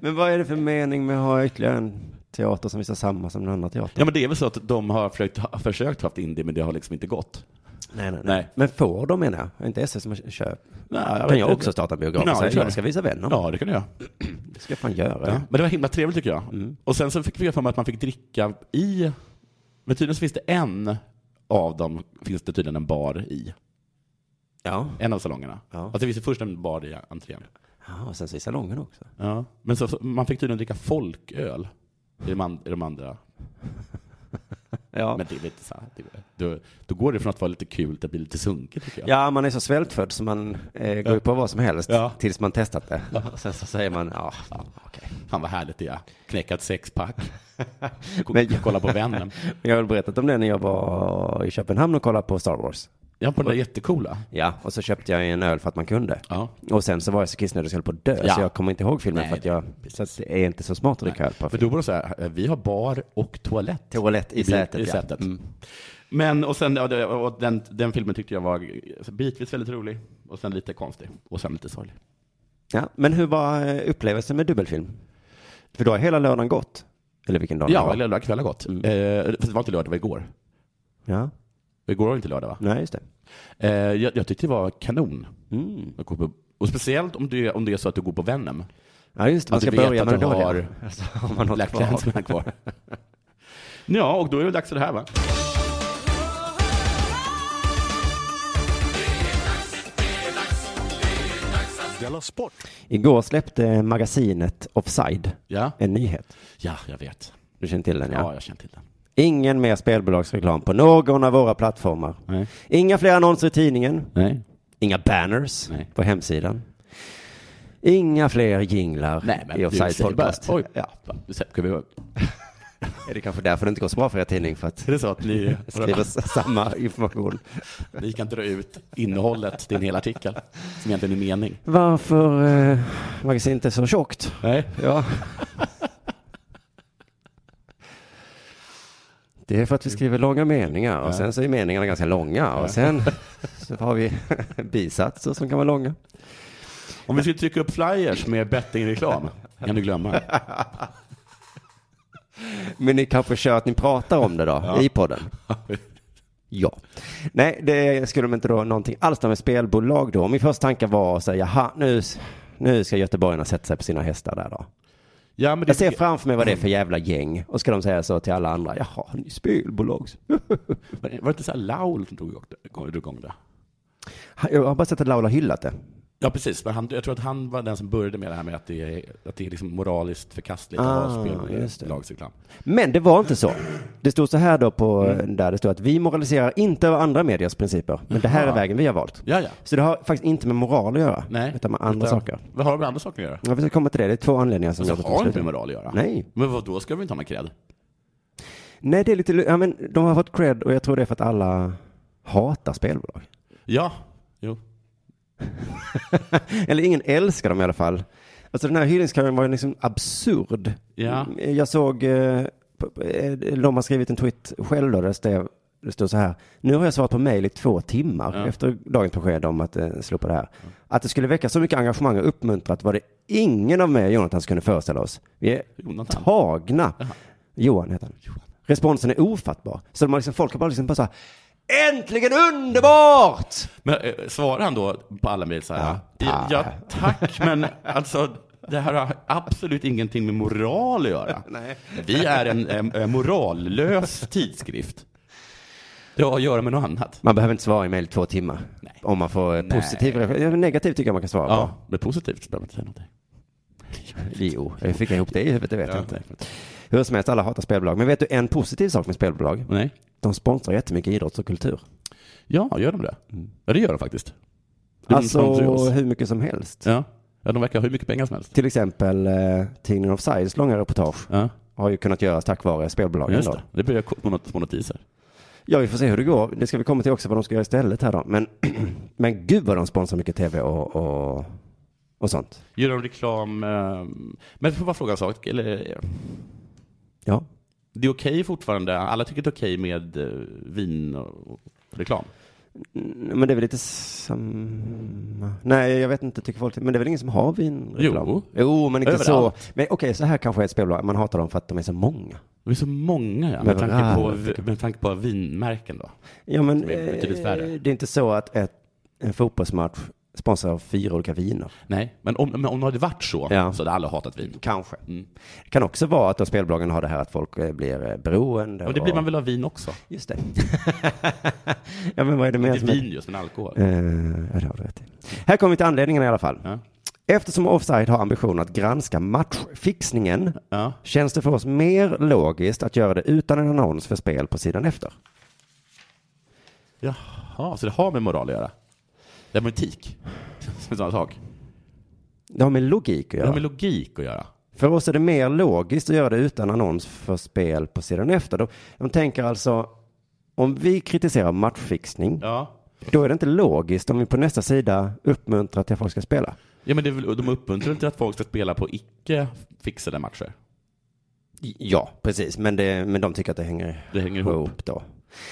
Speaker 4: Men vad är det för mening med att ha ytterligare en teater som visar samma som den andra teatern?
Speaker 5: Ja, men det är väl så att de har försökt, ha, försökt haft indie, men det har liksom inte gått.
Speaker 4: Nej, nej,
Speaker 5: Nej.
Speaker 4: Men får de menar jag? Är inte SS som köper?
Speaker 5: Nej,
Speaker 4: Kan
Speaker 5: vet
Speaker 4: jag
Speaker 5: inte.
Speaker 4: också starta en biograf
Speaker 5: Ja,
Speaker 4: och
Speaker 5: det
Speaker 4: säga
Speaker 5: tror jag.
Speaker 4: jag ska visa Venom?
Speaker 5: Ja, det kan du göra.
Speaker 4: Det ska jag fan göra.
Speaker 5: Ja. Men det var himla trevligt tycker jag.
Speaker 4: Mm.
Speaker 5: Och sen så fick vi för mig att man fick dricka i, men tydligen så finns det en av dem, finns det tydligen en bar i.
Speaker 4: Ja.
Speaker 5: En av salongerna.
Speaker 4: Ja.
Speaker 5: Alltså det finns ju först en bar i entrén.
Speaker 4: ja. Och sen så i salongen också.
Speaker 5: Ja. Men så, så, man fick tydligen dricka folköl i de, an, i de andra.
Speaker 4: Ja.
Speaker 5: Men det är lite så här, det, då, då går det från att vara lite kul till att bli lite sunkigt tycker jag.
Speaker 4: Ja, man är så svältfödd så man eh, går ju på vad som helst
Speaker 5: Ja.
Speaker 4: tills man testat det. Och <laughs> Sen så säger man, ja, fan, okej.
Speaker 5: Fan vad härligt det är. Knäcka ett sexpack.
Speaker 4: <laughs>
Speaker 5: K-
Speaker 4: Men jag-
Speaker 5: Kolla på vännen.
Speaker 4: Men Jag har väl berättat om det när jag var i Köpenhamn och kollade på Star Wars.
Speaker 5: Ja, på den där jättecoola.
Speaker 4: Ja, och så köpte jag en öl för att man kunde.
Speaker 5: Ja.
Speaker 4: Och sen så var jag så kissnödig så jag höll på att dö,
Speaker 5: Ja.
Speaker 4: så jag kommer inte ihåg filmen
Speaker 5: Nej,
Speaker 4: för att jag, så att det är inte så smart att dricka öl på
Speaker 5: Men då var det så här, eh, vi har bar och toalett.
Speaker 4: Toalett i
Speaker 5: bil-
Speaker 4: sätet,
Speaker 5: I
Speaker 4: ja.
Speaker 5: sätet.
Speaker 4: Mm.
Speaker 5: Men, och sen, ja, det- och den, den filmen tyckte jag var bitvis väldigt rolig, och sen lite konstig, och sen lite sorglig.
Speaker 4: Ja, men hur var eh, upplevelsen med dubbelfilm? För då har hela lördagen gått. Eller vilken dag det
Speaker 5: Ja,
Speaker 4: var.
Speaker 5: eller lördag kväll har gått.
Speaker 4: Mm.
Speaker 5: Eh, för det var inte lördag, det var igår.
Speaker 4: Ja,
Speaker 5: Igår var det inte lördag, va?
Speaker 4: nej just det.
Speaker 5: Eh, jag, jag tyckte det var kanon.
Speaker 4: Mm.
Speaker 5: att gå på- Och speciellt om det, om det är så att du går på Venom.
Speaker 4: Ja, just det. Man
Speaker 5: Att
Speaker 4: ska
Speaker 5: du vet
Speaker 4: börja
Speaker 5: att
Speaker 4: med det
Speaker 5: du
Speaker 4: dåliga.
Speaker 5: har
Speaker 4: Alltså, har man något
Speaker 5: Black
Speaker 4: kvar. <laughs>
Speaker 5: Clansman kvar. ja, och då är det dags för det här, va?
Speaker 2: Della Sport.
Speaker 4: Igår släppte magasinet Offside
Speaker 5: Ja,
Speaker 4: en nyhet.
Speaker 5: ja jag vet.
Speaker 4: Du känner till den
Speaker 5: Ja,
Speaker 4: ja.
Speaker 5: jag känner till den.
Speaker 4: Ingen mer spelbolagsreklam på någon av våra plattformar.
Speaker 5: Nej.
Speaker 4: Inga fler annonser i tidningen.
Speaker 5: Nej.
Speaker 4: Inga banners
Speaker 5: Nej.
Speaker 4: på hemsidan. Inga fler jinglar
Speaker 5: Nej, men
Speaker 4: i
Speaker 5: du
Speaker 4: Offside
Speaker 5: säger bara,
Speaker 4: Podcast.
Speaker 5: oj, ja, du säger- kan vi, är
Speaker 4: Är det kanske därför det inte går så bra för er tidning? För att
Speaker 5: det så att <laughs> ni
Speaker 4: skriva s- samma information.
Speaker 5: Ni kan dra ut innehållet till en hel artikel som egentligen är mening.
Speaker 4: Varför eh, magasinet är så tjockt?
Speaker 5: Nej.
Speaker 4: Ja. <laughs> Det är för att vi skriver långa meningar och sen så är meningarna ganska långa och sen så har vi <laughs> bisatser som kan vara långa.
Speaker 5: Om vi skulle trycka upp flyers med bettingreklam, kan du glömma.
Speaker 4: Men ni kanske kör att ni pratar om det då i podden? Ja. Nej, det skulle de inte då någonting alls där med spelbolag då. Min första tanke var att säga, jaha, nu, s- nu ska göteborgarna sätta sig på sina hästar där då.
Speaker 5: Ja, men
Speaker 4: Jag
Speaker 5: det,
Speaker 4: ser framför mig vad det är för jävla gäng och ska de säga så till alla andra, jaha, ni är spelbolag.
Speaker 5: var det inte så här Laul som drog igång det- drog igång det?
Speaker 4: Jag har bara sett att Laul har hyllat det.
Speaker 5: Ja, precis. Men han, jag tror att han var den som började med det här med att det är, att det är liksom moraliskt förkastligt att
Speaker 4: Ah,
Speaker 5: ha spel
Speaker 4: just det.
Speaker 5: med lagsreklam.
Speaker 4: Men det var inte så. Det stod så här då på
Speaker 5: Mm.
Speaker 4: där det stod att vi moraliserar inte över andra mediers principer, men det här är vägen vi har valt.
Speaker 5: Ja, ja.
Speaker 4: Så det har faktiskt inte med moral att göra,
Speaker 5: Nej.
Speaker 4: utan med andra
Speaker 5: Utan-
Speaker 4: saker.
Speaker 5: Vad har det med andra saker att göra?
Speaker 4: Jag vill komma till det, det är två anledningar som
Speaker 5: Så
Speaker 4: jag vill
Speaker 5: Alltså, har det inte
Speaker 4: avsluta.
Speaker 5: med moral att göra.
Speaker 4: Nej.
Speaker 5: Men vad då ska vi inte ha någon cred?
Speaker 4: Nej, det är lite, lu- ja, men de har fått cred och jag tror det är för att alla hatar spelbolag.
Speaker 5: Ja, jo.
Speaker 4: Eller ingen älskar dem i alla fall. Alltså den här hyllningskören var ju liksom absurd.
Speaker 5: Ja.
Speaker 4: Mm, Jag såg, eh, p- p- eh, de har skrivit en tweet själv då, där det stod, det stod så här. Nu har jag svarat på mejl i två timmar
Speaker 5: Ja.
Speaker 4: efter dagens besked om att eh, slopa det här. Att det skulle väcka så mycket engagemang och uppmuntrat var det ingen av mig och Jonathan skulle föreställa oss. Vi är
Speaker 5: Jonathan.
Speaker 4: tagna. Johan heter han. Responsen är ofattbar. Så de har liksom, folk har bara liksom bara så här, Äntligen underbart!
Speaker 5: Men eh, svarar han då på alla mejl så här? Ja, ja, tack, men alltså det här har absolut ingenting med moral att göra. Vi är en, en, en morallös tidskrift. Det har att göra med något annat.
Speaker 4: Man behöver inte svara i mejl två timmar. Om man får eh, positiv reaktion. Ja, men Negativ tycker jag man kan svara
Speaker 5: Ja, det är positivt. Behöver inte säga någonting.
Speaker 4: på. Jo, hur fick jag ihop det i huvudet? Det vet jag inte. Hur som helst, alla hatar spelbolag. Men vet du en positiv sak med spelbolag?
Speaker 5: Nej.
Speaker 4: De sponsrar jättemycket idrott och kultur.
Speaker 5: Ja, gör de det? Ja, det gör de faktiskt. De
Speaker 4: Alltså
Speaker 5: sponsrar ju oss.
Speaker 4: hur mycket som helst.
Speaker 5: Ja. ja, de verkar ha hur mycket pengar som helst.
Speaker 4: Till exempel eh, tidningen Offsides långa reportage
Speaker 5: Ja,
Speaker 4: har ju kunnat göras tack vare spelbolagen.
Speaker 5: just
Speaker 4: Då.
Speaker 5: det. Det blir små not- små notiser.
Speaker 4: Ja, vi får se hur det går. Det ska vi komma till också vad de ska göra istället här då. Men, <clears throat> men gud vad de sponsrar mycket tv och, och, och sånt.
Speaker 5: Gör de reklam? eh, Men jag får bara fråga en sak. Eller,
Speaker 4: Ja.
Speaker 5: det är okej fortfarande? Alla tycker det är okej med eh, vin och och reklam?
Speaker 4: Mm, Men det är väl lite samma. Nej, jag vet inte, tycker folk. Men det är väl ingen som har vinreklam?
Speaker 5: Jo.
Speaker 4: jo men inte
Speaker 5: Överallt.
Speaker 4: så. Men okej, så här kanske är ett spelbolag. Man hatar dem för att de är så många.
Speaker 5: Det är så många, ja.
Speaker 4: Men
Speaker 5: Med tanke,
Speaker 4: varför?
Speaker 5: på, med tanke på vinmärken då.
Speaker 4: Ja, men
Speaker 5: Det är betydligt
Speaker 4: eh,
Speaker 5: färre.
Speaker 4: det är inte så att ett, en fotbollsmatch sponsrar av fyra olika viner.
Speaker 5: Nej, men om, men om det hade varit så,
Speaker 4: Ja.
Speaker 5: så hade alla hatat vin.
Speaker 4: Kanske.
Speaker 5: Mm.
Speaker 4: Det kan också vara att då spelbolagen har det här att folk eh, blir eh, beroende.
Speaker 5: Men det
Speaker 4: och-
Speaker 5: blir man väl av vin också?
Speaker 4: Just
Speaker 5: <laughs>
Speaker 4: det. ja, men vad är det mer
Speaker 5: Det är
Speaker 4: som
Speaker 5: vin just, men alkohol.
Speaker 4: Eh, ja, det har du rätt i. Här kommer vi till anledningen i alla fall.
Speaker 5: Ja.
Speaker 4: Eftersom Offside har ambition att granska matchfixningen
Speaker 5: Ja.
Speaker 4: känns det för oss mer logiskt att göra det utan en annons för spel på sidan efter.
Speaker 5: Jaha, så det har med moral att göra? Det har med etik? <laughs> Som en sån sak.
Speaker 4: Det har med logik att
Speaker 5: Det
Speaker 4: göra.
Speaker 5: har med logik att göra?
Speaker 4: För oss är det mer logiskt att göra det utan annons för spel på sidan efter. De, de tänker alltså, om vi kritiserar matchfixning,
Speaker 5: Ja.
Speaker 4: då är det inte logiskt om vi på nästa sida uppmuntrar till att folk ska spela.
Speaker 5: Ja, men det är väl, de uppmuntrar inte att folk ska spela på icke fixade matcher.
Speaker 4: Ja, precis. Men, det, men de tycker att det hänger,
Speaker 5: Det hänger ihop.
Speaker 4: då.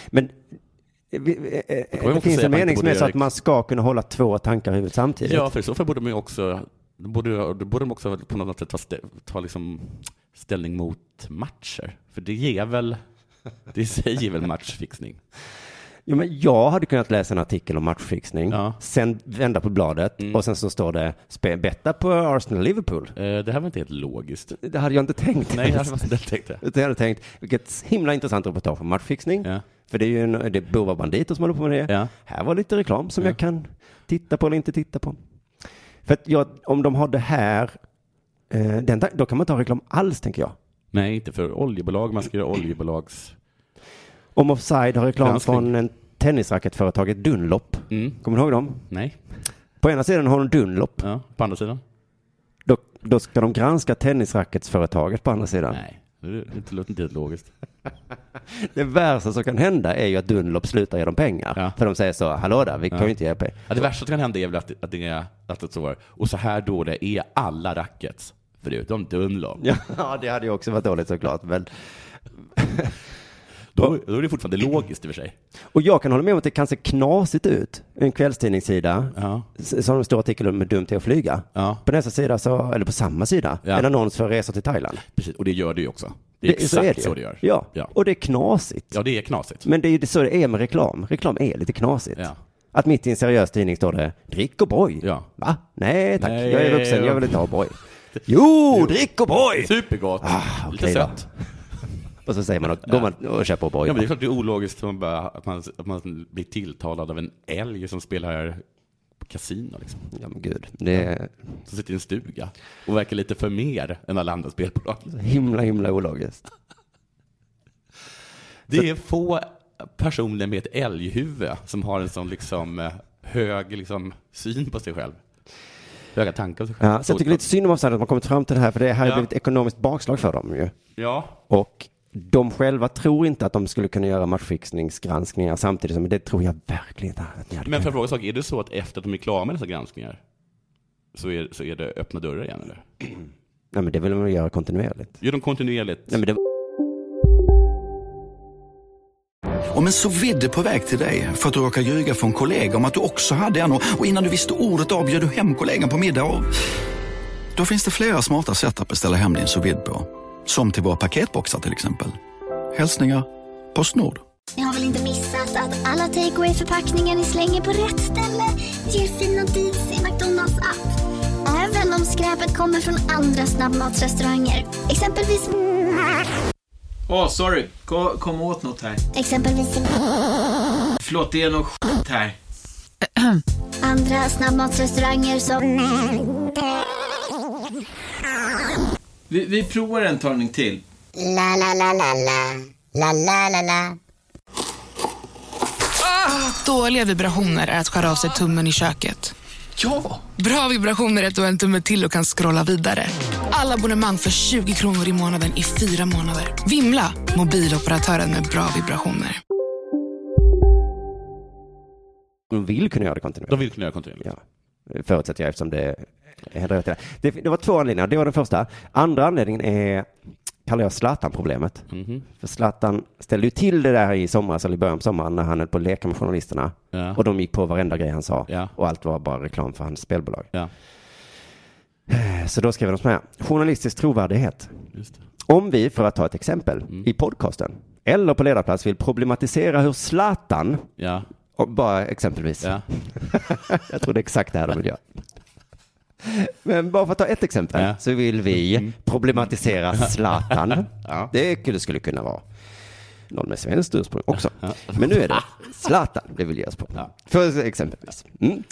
Speaker 4: Men vi- vi- eh,
Speaker 5: kan man
Speaker 4: det
Speaker 5: också
Speaker 4: finns
Speaker 5: säga
Speaker 4: en
Speaker 5: att man
Speaker 4: mening
Speaker 5: inte
Speaker 4: som är
Speaker 5: borde
Speaker 4: så
Speaker 5: göra
Speaker 4: att man ska kunna hålla två tankar i huvudet samtidigt.
Speaker 5: Ja, för i så fall borde de ju också, då borde, då borde de också på något sätt ta, stä, ta liksom ställning mot matcher. För det ger väl, det säger väl matchfixning.
Speaker 4: Jo, men jag hade kunnat läsa en artikel om matchfixning,
Speaker 5: Ja. Mm.
Speaker 4: sen vända på bladet och sen så står det "Spe- betta på Arsenal-Liverpool.
Speaker 5: Eh, Det här var inte helt logiskt.
Speaker 4: Det hade jag inte tänkt.
Speaker 5: Nej, det här var inte helt det.
Speaker 4: <laughs> Utan jag hade tänkt, vilket himla intressant reportage om matchfixning.
Speaker 5: Ja.
Speaker 4: För det är ju en, det är bovar banditer som håller på med det.
Speaker 5: Ja.
Speaker 4: Här var lite reklam som jag kan titta på eller inte titta på. För att jag, om de har det här, eh, den, ta- då kan man inte ha reklam alls tänker jag.
Speaker 5: Nej, inte för oljebolag. Man ska göra oljebolags...
Speaker 4: Om Offside har reklam
Speaker 5: Granskning.
Speaker 4: från en tennisracketföretaget Dunlop.
Speaker 5: Mm.
Speaker 4: Kommer du ihåg dem?
Speaker 5: Nej.
Speaker 4: På ena sidan har de Dunlop.
Speaker 5: Ja, på andra sidan?
Speaker 4: Då, då ska de granska tennisracketföretaget på andra sidan.
Speaker 5: Nej, det är inte- det låter inte helt logiskt.
Speaker 4: Det värsta som kan hända är ju att Dunlop slutar ge dem pengar.
Speaker 5: Ja.
Speaker 4: För de säger så, hallå där, vi kan ju inte ge pengar. <laughs>
Speaker 5: Ja, det värsta som kan hända är väl att, att det är att det så är. Och så här dåliga är alla rackets, förutom Dunlop.
Speaker 4: Ja, det hade ju också varit dåligt såklart. Men...
Speaker 5: Då, då är det fortfarande logiskt i och för sig.
Speaker 4: Och jag kan hålla med om att det kan se knasigt ut. En kvällstidningssida,
Speaker 5: Ja.
Speaker 4: s- som en stor artikel om hur dumt det är att flyga.
Speaker 5: Ja.
Speaker 4: På nästa sida, så, eller på samma sida,
Speaker 5: Ja.
Speaker 4: en annons för resor till Thailand.
Speaker 5: Precis, och det gör det ju också. Det är exakt så,
Speaker 4: är
Speaker 5: det,
Speaker 4: ju.
Speaker 5: gör.
Speaker 4: Ja.
Speaker 5: Ja.
Speaker 4: och det är knasigt.
Speaker 5: ja, det är knasigt.
Speaker 4: Men det är ju så det är med reklam. Reklam är lite knasigt.
Speaker 5: Ja.
Speaker 4: Att mitt i en seriös tidning står det drick och boj.
Speaker 5: Ja.
Speaker 4: Va? Nej tack,
Speaker 5: Nej,
Speaker 4: jag är vuxen,
Speaker 5: ja.
Speaker 4: jag vill inte ha boj. Jo, drick och boj!
Speaker 5: Supergott!
Speaker 4: Ah,
Speaker 5: Lite
Speaker 4: okej då.
Speaker 5: sött.
Speaker 4: Och så säger man, och, går man och köper och boj.
Speaker 5: Ja, men det är klart det är ologiskt att man, bara, att, man, att man blir tilltalad av en älg som spelar kasino. Liksom.
Speaker 4: Ja, men gud. Det är
Speaker 5: Som sitter i en stuga och verkar lite för mer än alla andra spelbolag.
Speaker 4: så himla, himla ologiskt.
Speaker 5: Det är få personer med ett älghuvud som har en sån liksom eh, hög liksom, syn på sig själv. Höga tankar om sig själv.
Speaker 4: Ja, så jag tycker lite synd om Offside att man kommit fram till det här, för det här har ju
Speaker 5: Ja.
Speaker 4: blivit ett ekonomiskt bakslag för dem ju.
Speaker 5: Ja,
Speaker 4: Och de själva tror inte att de skulle kunna göra matchfixningsgranskningar samtidigt som, men det tror jag verkligen inte att ni hade
Speaker 5: men
Speaker 4: kunnat.
Speaker 5: för att fråga en sak, är det så att efter att de är klara med dessa granskningar så är, så är det öppna dörrar igen eller?
Speaker 4: Nej, men det vill man göra kontinuerligt.
Speaker 5: Gör de kontinuerligt?
Speaker 4: Nej, men det var
Speaker 7: Om en så vidde på väg till dig för att du råkar ljuga från kollega om att du också hade en och och innan du visste ordet av bjöd du hem kollegan på middag och... Då finns det flera smarta sätt att beställa hem din sous vide på. Som till våra paketboxar till exempel. Hälsningar Postnord.
Speaker 8: Ni har väl inte missat att alla takeaway förpackningar ni slänger på rätt ställe ger fina deals i McDonalds app. Även om skräpet kommer från andra snabbmatsrestauranger. Exempelvis...
Speaker 9: Åh, sorry. Kom, kom åt något här.
Speaker 8: Exempelvis...
Speaker 9: Förlåt, det är något skit här.
Speaker 8: Andra snabbmatsrestauranger som...
Speaker 9: Vi, vi provar en talning till.
Speaker 8: La, la, la, la, la. La, la, la, la.
Speaker 10: Dåliga vibrationer är att skära av sig tummen i köket.
Speaker 9: Ja!
Speaker 10: Bra vibrationer är att du har en tumme till och kan scrolla vidare. Alla abonnemang för 20 kronor i månaden i fyra månader. Vimla! Mobiloperatören med bra vibrationer.
Speaker 4: de vill kunna göra det kontinuerligt.
Speaker 5: De vill kunna göra kontinuerligt.
Speaker 4: Ja, förutsätter jag eftersom det händer rätt i det. det. Det var två anledningar, det var den första. Andra anledningen är, kallar jag Zlatan-problemet.
Speaker 5: Mhm.
Speaker 4: För Zlatan ställde ju till det där i somras, eller i början på sommaren, när han höll på att leka med journalisterna.
Speaker 5: Ja.
Speaker 4: Och de gick på varenda grej han sa.
Speaker 5: Ja.
Speaker 4: Och allt var bara reklam för hans spelbolag.
Speaker 5: Ja,
Speaker 4: Så då skrev de så här, journalistisk trovärdighet.
Speaker 5: just det.
Speaker 4: Om vi, för att ta ett exempel,
Speaker 5: Mm.
Speaker 4: i podcasten eller på ledarplats vill problematisera hur Zlatan,
Speaker 5: Ja,
Speaker 4: och bara exempelvis,
Speaker 5: ja.
Speaker 4: <laughs> Jag tror det är exakt det här de vill göra. Men bara för att ta ett exempel
Speaker 5: Ja. Mm.
Speaker 4: så vill vi problematisera Zlatan. Det skulle- skulle kunna vara någon med svenskt ursprung också. Men nu är det Zlatan det vill ge oss på.
Speaker 5: Ja.
Speaker 4: För exempelvis. Mm.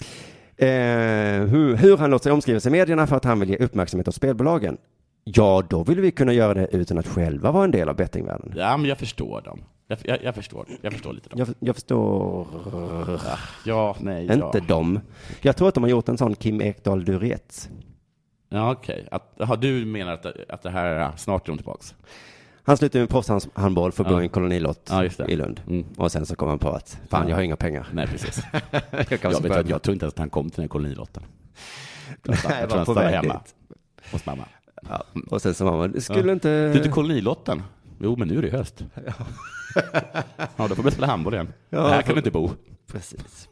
Speaker 4: Eh, hur, hur han låter sig omskrivas i medierna för att han vill ge uppmärksamhet åt spelbolagen. Ja, då vill vi kunna göra det utan att själva vara en del av bettingvärlden.
Speaker 5: ja, men jag förstår dem. Jag, jag, jag förstår Jag förstår lite dem.
Speaker 4: Jag, jag förstår
Speaker 5: Ja, nej, ja.
Speaker 4: inte dem. Jag tror att de har gjort en sån Kim Ekdahl Duretz.
Speaker 5: Ja, okej. Att- Har du menar att, att det här, ja, snart är de tillbaks?
Speaker 4: Han slutade med proffshandboll för att gå i en kolonilott
Speaker 5: Ja, just det.
Speaker 4: i Lund.
Speaker 5: Mm.
Speaker 4: Och sen så kom han på att, fan jag har inga pengar.
Speaker 5: Nej, precis.
Speaker 4: <laughs> Jag kan
Speaker 5: Jag, vet,
Speaker 4: börja-
Speaker 5: att jag tror inte ens att han kom till den här kolonilotten. Jag tror
Speaker 4: Nej,
Speaker 5: han
Speaker 4: var på
Speaker 5: stannade
Speaker 4: väg
Speaker 5: hemma
Speaker 4: dit.
Speaker 5: hos mamma.
Speaker 4: Ja. Och sen så var man, skulle
Speaker 5: Ja.
Speaker 4: inte...
Speaker 5: Du är inte kolonilotten? Jo, men nu är
Speaker 4: <laughs>
Speaker 5: det höst. Ja, då får vi spela handboll igen.
Speaker 4: Ja,
Speaker 5: här
Speaker 4: för-
Speaker 5: kan du inte bo.
Speaker 4: Precis.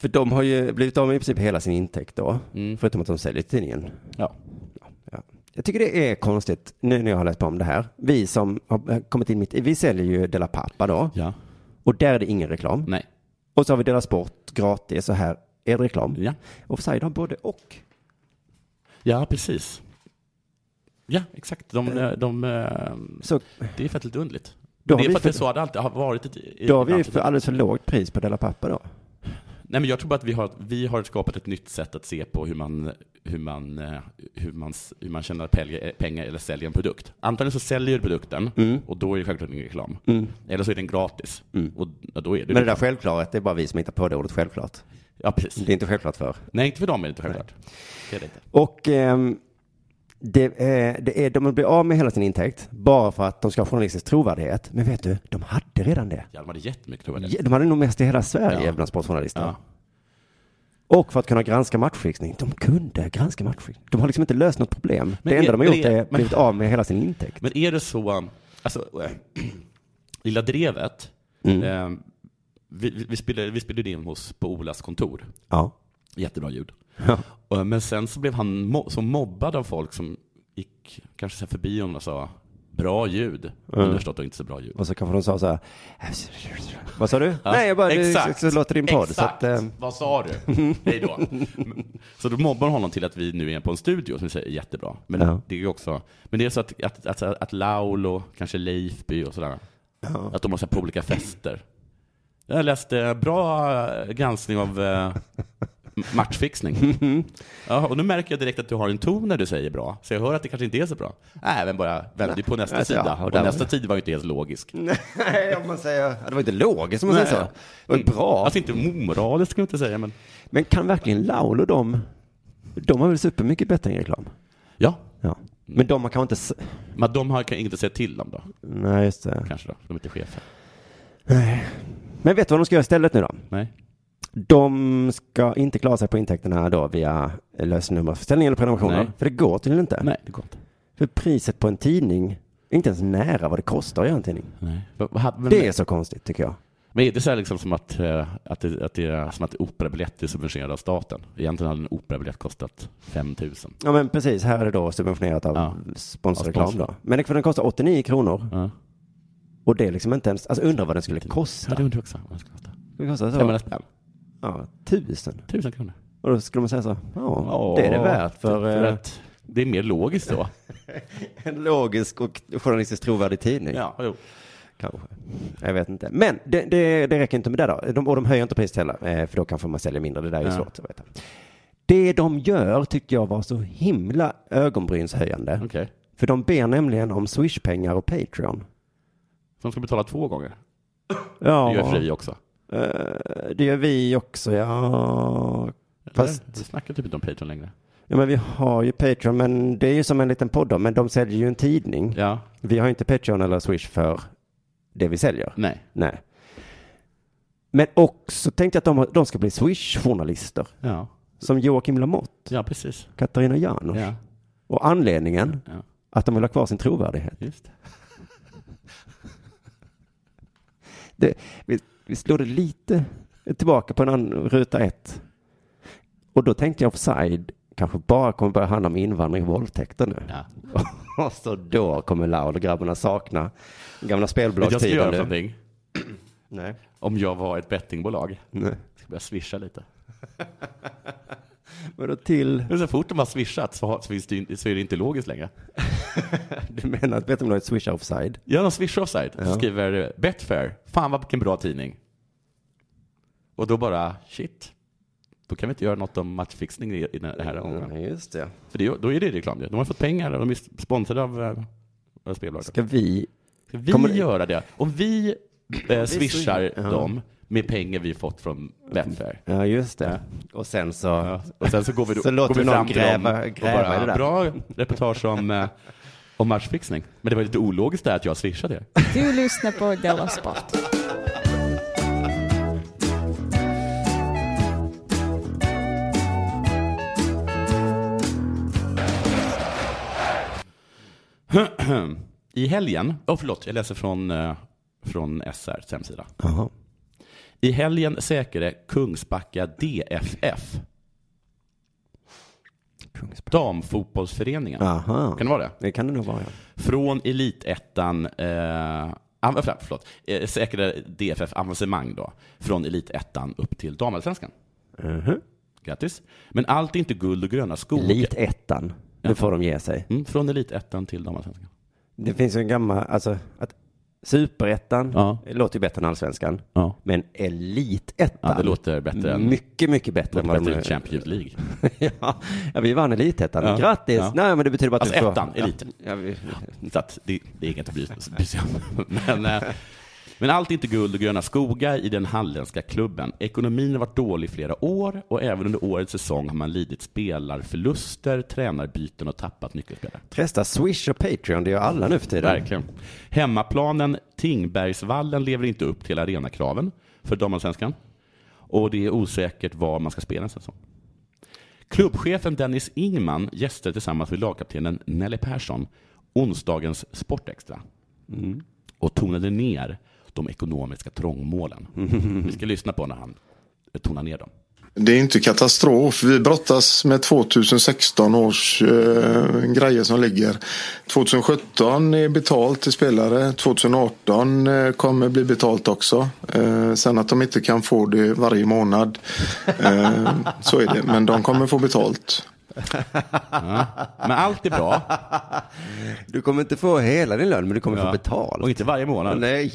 Speaker 4: För de har ju blivit av med i princip hela sin intäkt då.
Speaker 5: Mm.
Speaker 4: Förutom att de säljer tidningen.
Speaker 5: Ja.
Speaker 4: Ja. Jag tycker det är konstigt nu när jag har läst på om det här. Vi som har kommit in mitt i, vi säljer ju Dela Pappa då.
Speaker 5: Ja.
Speaker 4: Och där är det ingen reklam.
Speaker 5: Nej.
Speaker 4: Och så har vi Dela Sport gratis och här är det reklam.
Speaker 5: Ja.
Speaker 4: Offside har både och.
Speaker 5: Ja, precis. Ja, exakt. De, de, eh,
Speaker 4: Så
Speaker 5: det är faktiskt lite underligt.
Speaker 4: Då har
Speaker 5: det är
Speaker 4: vi
Speaker 5: för att
Speaker 4: för-
Speaker 5: det är så det alltid har varit. I, i
Speaker 4: då har vi ju
Speaker 5: landet.
Speaker 4: för alldeles för lågt pris på Dela Pappa då.
Speaker 5: Nej, men jag tror bara att vi har, vi har skapat ett nytt sätt att se på hur man, hur man, eh, hur man, s- hur man tjänar pelge- eh, pengar eller säljer en produkt. Antagligen så säljer du produkten
Speaker 4: Mm.
Speaker 5: och då är det självklart ingen reklam. Eller så är den gratis och ja, då är det
Speaker 4: Men det där självklarat, det är bara vi som hittar på det ordet självklart.
Speaker 5: Ja, precis.
Speaker 4: Det är inte självklart för.
Speaker 5: Nej, inte för dem är det inte självklart. Det är det inte.
Speaker 4: Och ehm, det, eh, det är, de blir av med hela sin intäkt bara för att de ska ha journalistisk trovärdighet. Men vet du, de hade redan det.
Speaker 5: Ja, de hade jättemycket trovärdighet.
Speaker 4: Ja, De hade nog mest i hela Sverige
Speaker 5: Ja.
Speaker 4: bland sportjournalisterna.
Speaker 5: Ja.
Speaker 4: Och för att kunna granska matchfixning. De kunde granska matchfixning. De har liksom inte löst något problem. det
Speaker 5: är-
Speaker 4: enda de har
Speaker 5: men
Speaker 4: gjort
Speaker 5: är-
Speaker 4: är
Speaker 5: men-
Speaker 4: blivit av med hela sin intäkt.
Speaker 5: Men är det så, um, alltså, <clears throat> äh, Lilla Drevet, eh, vi, vi- vi spelade, vi spelade in hos, på Olas kontor,
Speaker 4: Ja.
Speaker 5: jättebra ljud. Och, Men sen så blev han mo- så mobbad av folk som gick kanske så här förbi honom och sa bra ljud, underförstått och inte så bra ljud.
Speaker 4: Och så kanske de sa så här. "Äh, Vad sa du? Nej, jag bara,
Speaker 5: Exakt.
Speaker 4: Exakt. så låter din podd. Så
Speaker 5: Exakt.
Speaker 4: att, eh,
Speaker 5: Vad sa du? Hej då. Men- Så då mobbar honom till att vi nu är på en studio som vi säger är jättebra. Men
Speaker 4: Ja.
Speaker 5: det är ju också, men det är så att, att, att, att Laulo, kanske Leifby och sådär, att de har så här
Speaker 4: <laughs>
Speaker 5: på olika fester. Jag läste bra eh, granskning av eh, matchfixning. ja, och nu märker jag direkt att du har en ton när du säger bra, så jag hör att det kanske inte är så bra. Nej, men bara vänder på nästa
Speaker 4: Ja,
Speaker 5: sida.
Speaker 4: ja, och
Speaker 5: och
Speaker 4: där-
Speaker 5: nästa tid var ju inte helt logisk.
Speaker 4: <laughs> Nej, om man säger... Ja, det var inte logiskt om man säger så.
Speaker 5: Nej.
Speaker 4: Det var ju bra.
Speaker 5: Alltså inte omoraliskt kan jag inte säga, men...
Speaker 4: Men kan verkligen Laulo de... De har väl supermycket bättre än reklam?
Speaker 5: Ja.
Speaker 4: ja. Men de har kanske inte... s-
Speaker 5: Men de har kan inte säga till om då,
Speaker 4: Nej, just det.
Speaker 5: kanske då. De är inte chefer.
Speaker 4: Nej. Men vet du vad de ska göra istället nu då?
Speaker 5: Nej.
Speaker 4: De ska inte klara sig på intäkterna då via lösnummerförsäljning eller prenumerationer.
Speaker 5: Nej.
Speaker 4: För det går tydligen inte.
Speaker 5: Nej, det går inte.
Speaker 4: För priset på en tidning är inte ens nära vad det kostar att göra en tidning.
Speaker 5: Nej. Vad- vad hade- men-
Speaker 4: Det är så konstigt tycker jag.
Speaker 5: Men är det så här liksom som att, eh, att, det, att, det är, som att operabiljetter är subventionerade av staten? Egentligen hade en operabiljett kostat 5 000.
Speaker 4: Ja men precis, här är det då subventionerat av
Speaker 5: Av
Speaker 4: sponsorreklam
Speaker 5: sponsor.
Speaker 4: då. Men det- för den kostar 89 kronor. Och det är liksom inte ens, alltså undrar vad den skulle kosta.
Speaker 5: Ja, det undrar jag också. Vad ska det kosta?
Speaker 4: Det kostar så.
Speaker 5: 500 spänn?
Speaker 4: Ja, tusen.
Speaker 5: Tusen kronor.
Speaker 4: Och då skulle man säga så, ja, det är det värt för,
Speaker 5: för
Speaker 4: eh,
Speaker 5: att det är mer
Speaker 4: <laughs>
Speaker 5: logiskt då.
Speaker 4: en logisk och journalistiskt trovärdig tidning.
Speaker 5: ja, jo.
Speaker 4: Kanske. Jag vet inte. Men det, det, det räcker inte med det då. De, och de höjer inte priset heller, eh, för då kanske man säljer mindre. Det där är ju
Speaker 5: Ja.
Speaker 4: svårt att veta. Det de gör tyckte jag var så himla ögonbrynshöjande.
Speaker 5: Okej.
Speaker 4: För de ber nämligen om Swish-pengar och Patreon.
Speaker 5: Så de ska betala två gånger.
Speaker 4: Ja.
Speaker 5: Det gör Frej också.
Speaker 4: Eh, det gör vi också, ja. Fast,
Speaker 5: Eller? Vi snackar typ inte om Patreon längre.
Speaker 4: ja men vi har ju Patreon, men det är ju som en liten podd då, men de säljer ju en tidning.
Speaker 5: Ja.
Speaker 4: Vi har ju inte Patreon eller Swish för det vi säljer.
Speaker 5: Nej.
Speaker 4: Nej. Men också tänkte jag att de, har- de ska bli Swish-journalister.
Speaker 5: Ja.
Speaker 4: Som Joakim Lamotte,
Speaker 5: Ja, precis.
Speaker 4: Katarina Janouch.
Speaker 5: Ja.
Speaker 4: Och anledningen,
Speaker 5: Ja.
Speaker 4: att de vill ha kvar sin trovärdighet.
Speaker 5: Just det.
Speaker 4: Det, vi, vi slår det lite tillbaka på en annan, ruta ett. Och då tänkte jag offside kanske bara kommer börja handla om invandring och våldtäkter nu.
Speaker 5: Ja.
Speaker 4: <laughs> Och så då kommer Laul och grabbarna sakna gamla
Speaker 5: Jag ska göra
Speaker 4: spelbolagstiden. nu.
Speaker 5: någonting.
Speaker 4: Nej.
Speaker 5: Om jag var ett bettingbolag.
Speaker 4: Nej.
Speaker 5: Jag ska börja swisha lite.
Speaker 4: Men då till,
Speaker 5: Men så fort de har swishat så, har, så, finns det, ju- så är det inte logiskt längre.
Speaker 4: du menar att Bettingbolagets swishar offside?
Speaker 5: Ja, de swishar offside. Så skriver eh, Betfair, fan vad vilken bra tidning. Och då bara, shit. Då kan vi inte göra något om matchfixning i, i den här omgången.
Speaker 4: just det.
Speaker 5: För det, då är det reklam ju. De har fått pengar och de är sponsrade av eh, av spelbolaget.
Speaker 4: Ska vi
Speaker 5: Ska vi
Speaker 4: kommer det-
Speaker 5: göra det? Om vi eh, swishar
Speaker 4: swishar, ja.
Speaker 5: dem med pengar vi fått från Betfair.
Speaker 4: Ja, just det. Och sen så...
Speaker 5: Ja. Och sen så går vi, då,
Speaker 4: Så låter
Speaker 5: går vi
Speaker 4: vi
Speaker 5: fram
Speaker 4: någon
Speaker 5: till dem
Speaker 4: gräva-
Speaker 5: och
Speaker 4: gräva i det där.
Speaker 5: Bra reportage om, eh, om matchfixning. Men det var lite ologiskt där att jag swishade er.
Speaker 6: Du lyssnar på Della Sport.
Speaker 5: I helgen, oh, förlåt, jag läser från, eh, från SRs hemsida.
Speaker 4: Jaha.
Speaker 5: I helgen säkrade Kungsbacka DFF, damfotbollsföreningen,
Speaker 4: Aha.
Speaker 5: kan det vara det?
Speaker 4: Det kan det nog vara, ja.
Speaker 5: Från elitettan, eh, am- förlåt, förlåt, eh, säkrade DFF avancemang då, från elitettan upp till damallsvenskan.
Speaker 4: Mhm.
Speaker 5: Grattis. Men allt är inte guld och gröna skogar.
Speaker 4: Elitettan. Nu får de ge sig.
Speaker 5: Mm, från elitettan till damallsvenskan.
Speaker 4: Det finns ju en gammal, alltså att superettan
Speaker 5: Ja.
Speaker 4: det låter ju bättre än allsvenskan.
Speaker 5: Ja.
Speaker 4: Men elitettan.
Speaker 5: Ja, det låter bättre än-
Speaker 4: Mycket, mycket bättre än
Speaker 5: Bättre
Speaker 4: vad
Speaker 5: än
Speaker 4: de...
Speaker 5: Champions League.
Speaker 4: <laughs> ja. ja, vi vann elitettan.
Speaker 5: Ja.
Speaker 4: Grattis!
Speaker 5: Ja.
Speaker 4: Nej, men det betyder bara att
Speaker 5: Alltså
Speaker 4: vi får...
Speaker 5: ettan, eliten.
Speaker 4: Ja, vi...
Speaker 5: <laughs> Så att det, det är inget att bry bry sig om. <laughs> Men, eh, men allt är inte guld och gröna skogar i den halländska klubben. Ekonomin har varit dålig i flera år och även under årets säsong har man lidit spelarförluster, tränarbyten och tappat nyckelspelare.
Speaker 4: Tresta Swish och Patreon, det gör alla nu för tiden.
Speaker 5: Verkligen. Hemmaplanen Tingbergsvallen lever inte upp till arenakraven för damallsvenskan. Och det är osäkert var man ska spela en säsong. Klubbchefen Dennis Ingman gästade tillsammans med lagkaptenen Nelly Persson onsdagens Sportextra och tonade ner de ekonomiska trångmålen. Vi ska lyssna på när han tonar ner dem.
Speaker 11: Det är inte katastrof. Vi brottas med 2016 års eh, grejer som ligger. 2017 är betalt till spelare. 2018 eh, kommer bli betalt också. Eh, sen att de inte kan få det varje månad. Eh, så är det. Men de kommer få betalt.
Speaker 5: Men allt är bra.
Speaker 4: Du kommer inte få hela din lön, men du kommer
Speaker 5: Ja.
Speaker 4: få betalt.
Speaker 5: Och inte varje månad.
Speaker 4: Nej.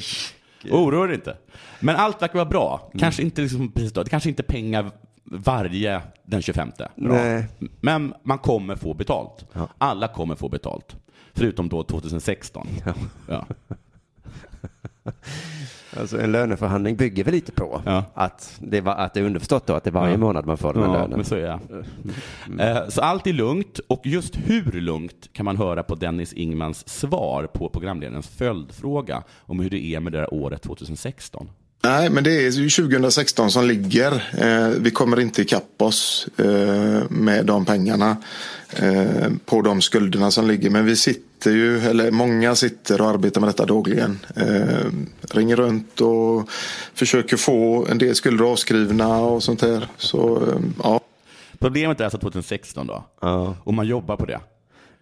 Speaker 5: Mm. Oroa dig inte. Men allt verkar vara bra. Kanske inte liksom precis då. Det kanske inte är pengar varje den 25. Bra.
Speaker 4: Nej.
Speaker 5: Men man kommer få betalt. Alla kommer få betalt. Förutom då 2016. Ja.
Speaker 4: Alltså en löneförhandling bygger väl lite på att, det var, att det är underförstått då att det är varje
Speaker 5: Ja.
Speaker 4: månad man får den här
Speaker 5: <laughs> Ja,
Speaker 4: lönen.
Speaker 5: men så är jag. Eh, Så allt är lugnt och just hur lugnt kan man höra på Dennis Ingmans svar på programledarens följdfråga om hur det är med det här året 2016.
Speaker 11: Nej, men det är ju 2016 som ligger. Eh, vi kommer inte ikapp oss eh, med de pengarna eh, på de skulderna som ligger. Men vi sitter ju, eller många sitter och arbetar med detta dagligen. Eh, ringer runt och försöker få en del skulder avskrivna och sånt här. Så, eh, ja.
Speaker 5: Problemet är alltså 2016 då, och man jobbar på det.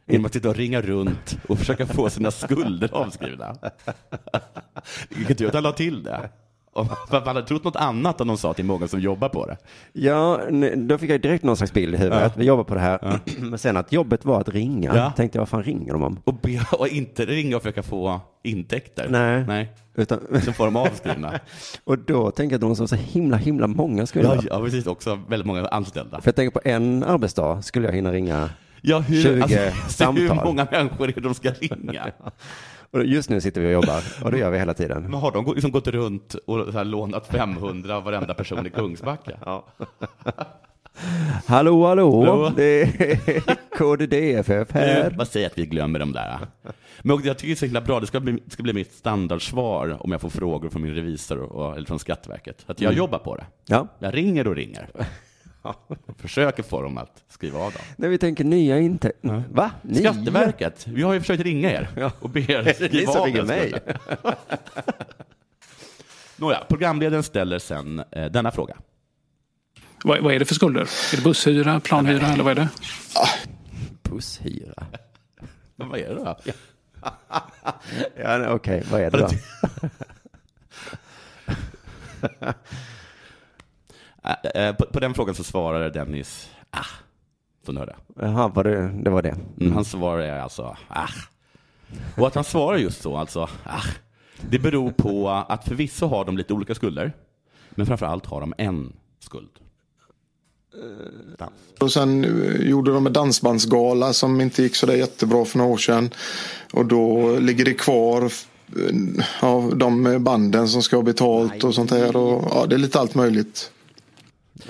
Speaker 5: Genom att sitta och ringa runt och försöka få sina skulder avskrivna. Vilken tur att han la till det. Och Man hade trott något annat om de sa till många som jobbar på det.
Speaker 4: Ja, n- då fick jag direkt någon slags bild i huvudet.
Speaker 5: Ja.
Speaker 4: att Vi jobbar på det här. <clears throat> Men sen att jobbet var att ringa.
Speaker 5: Ja.
Speaker 4: Tänkte jag, vad fan ringer de om?
Speaker 5: Och, be, och inte ringa och försöka få intäkter.
Speaker 4: Nej.
Speaker 5: Nej.
Speaker 4: Utan...
Speaker 5: Så får de avskrivna.
Speaker 4: <laughs> och då tänker jag att de som så himla, himla många skulle
Speaker 5: Ja,
Speaker 4: vara.
Speaker 5: ja, precis. Också väldigt många anställda.
Speaker 4: För jag tänker på en arbetsdag skulle jag hinna ringa
Speaker 5: Ja, hur,
Speaker 4: 20
Speaker 5: alltså, hur
Speaker 4: samtal.
Speaker 5: många människor är det de ska ringa?
Speaker 4: Och just nu sitter vi och jobbar och det gör vi hela tiden.
Speaker 5: Men har de gå- liksom gått runt och så här lånat 500 av varenda person i Kungsbacka? Ja.
Speaker 4: Hallå, hallå,
Speaker 5: Hallå.
Speaker 4: det är <laughs> KDDFF här.
Speaker 5: Vad säger att vi glömmer de där? Men och jag tycker det är så himla bra, det ska bli, det ska bli mitt standardsvar om jag får frågor från min revisor och, eller från Skatteverket. Att jag
Speaker 4: Mm.
Speaker 5: jobbar på det.
Speaker 4: Ja.
Speaker 5: Jag ringer och ringer. Försöker få dem att skriva av dem.
Speaker 4: När vi tänker nya intäkter. Va? Nya?
Speaker 5: Skatteverket, vi har ju försökt ringa er och be er
Speaker 4: <laughs> Ni
Speaker 5: skriva
Speaker 4: som
Speaker 5: av
Speaker 4: ringer
Speaker 5: den
Speaker 4: mig.
Speaker 5: skulden. Nåja, programledaren ställer sen eh, denna fråga.
Speaker 12: Vad, vad är det för skulder? Är det busshyra, planhyra eller vad är det?
Speaker 4: Busshyra.
Speaker 5: Men vad är det då?
Speaker 4: Ja, nej, okej, vad är det då?
Speaker 5: <laughs> Eh, eh, På, på den frågan så svarar Dennis, ah, som ni hörde.
Speaker 4: Jaha, var det, det var det.
Speaker 5: Mm. Hans svar är alltså, ah. Och att han svarar just så, alltså, ah, det beror på att förvisso har de lite olika skulder, men framför allt har de en skuld.
Speaker 11: Och sen eh, gjorde de en dansbandsgala som inte gick så där jättebra för några år sedan. Och då ligger det kvar eh, ja, de banden som ska ha betalt och sånt här. Och, ja, det är lite allt möjligt.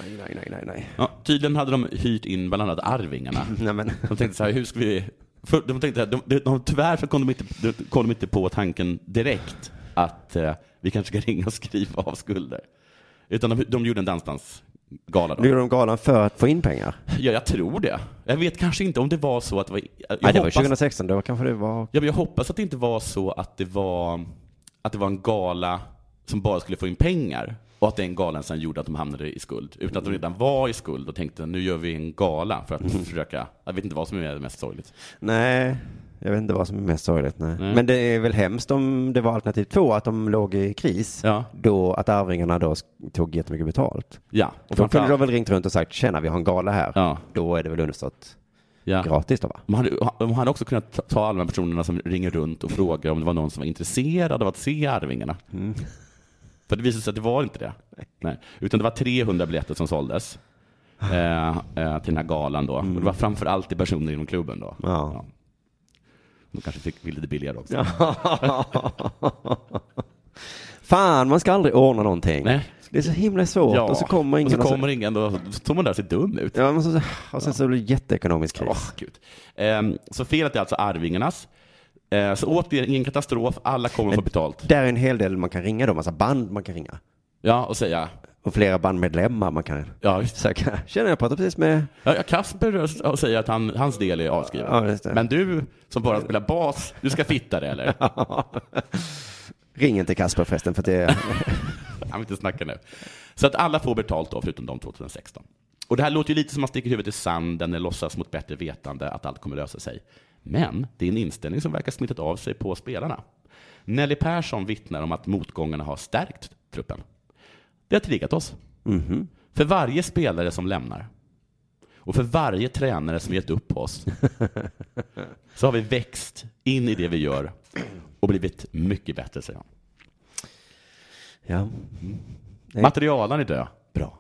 Speaker 4: Nej, nej, nej, nej, nej.
Speaker 5: Ja, tydligen hade de hyrt in bland annat Arvingarna. De tänkte så här, hur ska vi... För de tänkte, de, de, de, tyvärr så kom de, inte, de, kom de inte på tanken direkt att eh, vi kanske ska <laughs> ringa och skriva av skulder. Utan de, de gjorde en dansbandsgala. Då.
Speaker 4: Nu gjorde de galan för att få in pengar.
Speaker 5: Ja, jag tror det. Jag vet kanske inte om det var så att det var... Jag
Speaker 4: nej, det var ju
Speaker 5: hoppas-
Speaker 4: 2016, då kanske det var...
Speaker 5: Ja, men jag hoppas att det inte var så att det var, att det var en gala som bara skulle få in pengar och att den galan sen gjorde att de hamnade i skuld. Utan att de redan var i skuld och tänkte nu gör vi en gala för att
Speaker 4: Mm.
Speaker 5: försöka, jag vet inte vad som är det mest sorgligt.
Speaker 4: Nej, jag vet inte vad som är mest sorgligt. Nej.
Speaker 5: Nej.
Speaker 4: Men det är väl hemskt om det var alternativ två, att de låg i kris. Då, att Arvingarna då sk- tog jättemycket betalt.
Speaker 5: Ja, och
Speaker 4: Och då kunde
Speaker 5: framförallt-
Speaker 4: de väl ringt runt och sagt, tjena, vi har en gala här. Då är det väl underförstått
Speaker 5: Ja.
Speaker 4: gratis då, va?
Speaker 5: Man hade, man hade också kunnat ta- ta alla de här personerna som ringer runt och frågar om det var någon som var intresserad av att se Arvingarna. För det visade sig att det var inte det. Nej. Utan det var 300 biljetter som såldes eh, eh, till den här galan då. Och det var framförallt till personer inom klubben då. Ja. De kanske fick bli lite billigare också.
Speaker 4: Fan, man ska aldrig ordna någonting.
Speaker 5: Nej.
Speaker 4: Det är så himla svårt.
Speaker 5: Ja,
Speaker 4: Och så kommer ingen.
Speaker 5: Och så kommer ingen och så står man där och ser dum ut.
Speaker 4: Ja, men så, och sen så blir det jätteekonomisk kris.
Speaker 5: Gud. Ehm, så felet är alltså Arvingarnas. Eh, så återigen, ingen katastrof. Alla kommer få betalt.
Speaker 4: Där är en hel del man kan ringa då, massa band man kan ringa.
Speaker 5: Ja, och säga.
Speaker 4: Och flera bandmedlemmar man kan
Speaker 5: ja,
Speaker 4: söka. <laughs> Känner jag pratar precis med...
Speaker 5: Ja, ja, Kasper säger att han, hans del är avskriven.
Speaker 4: Ja, just det.
Speaker 5: Men du som bara spelar bas, du ska fitta det eller?
Speaker 4: Ring inte Kasper förresten för att det...
Speaker 5: <laughs> Han vill inte snacka nu. Så att alla får betalt då, förutom de 2016. Och det här låter ju lite som att man sticker huvudet i sanden eller låtsas mot bättre vetande att allt kommer lösa sig. Men det är en inställning som verkar smittat av sig på spelarna. Nelly Persson vittnar om att motgångarna har stärkt truppen. Det har triggat oss. För varje spelare som lämnar och för varje tränare som gett upp oss så har vi växt in i det vi gör och blivit mycket bättre, säger han.
Speaker 4: Ja.
Speaker 5: Materialen är död. Bra.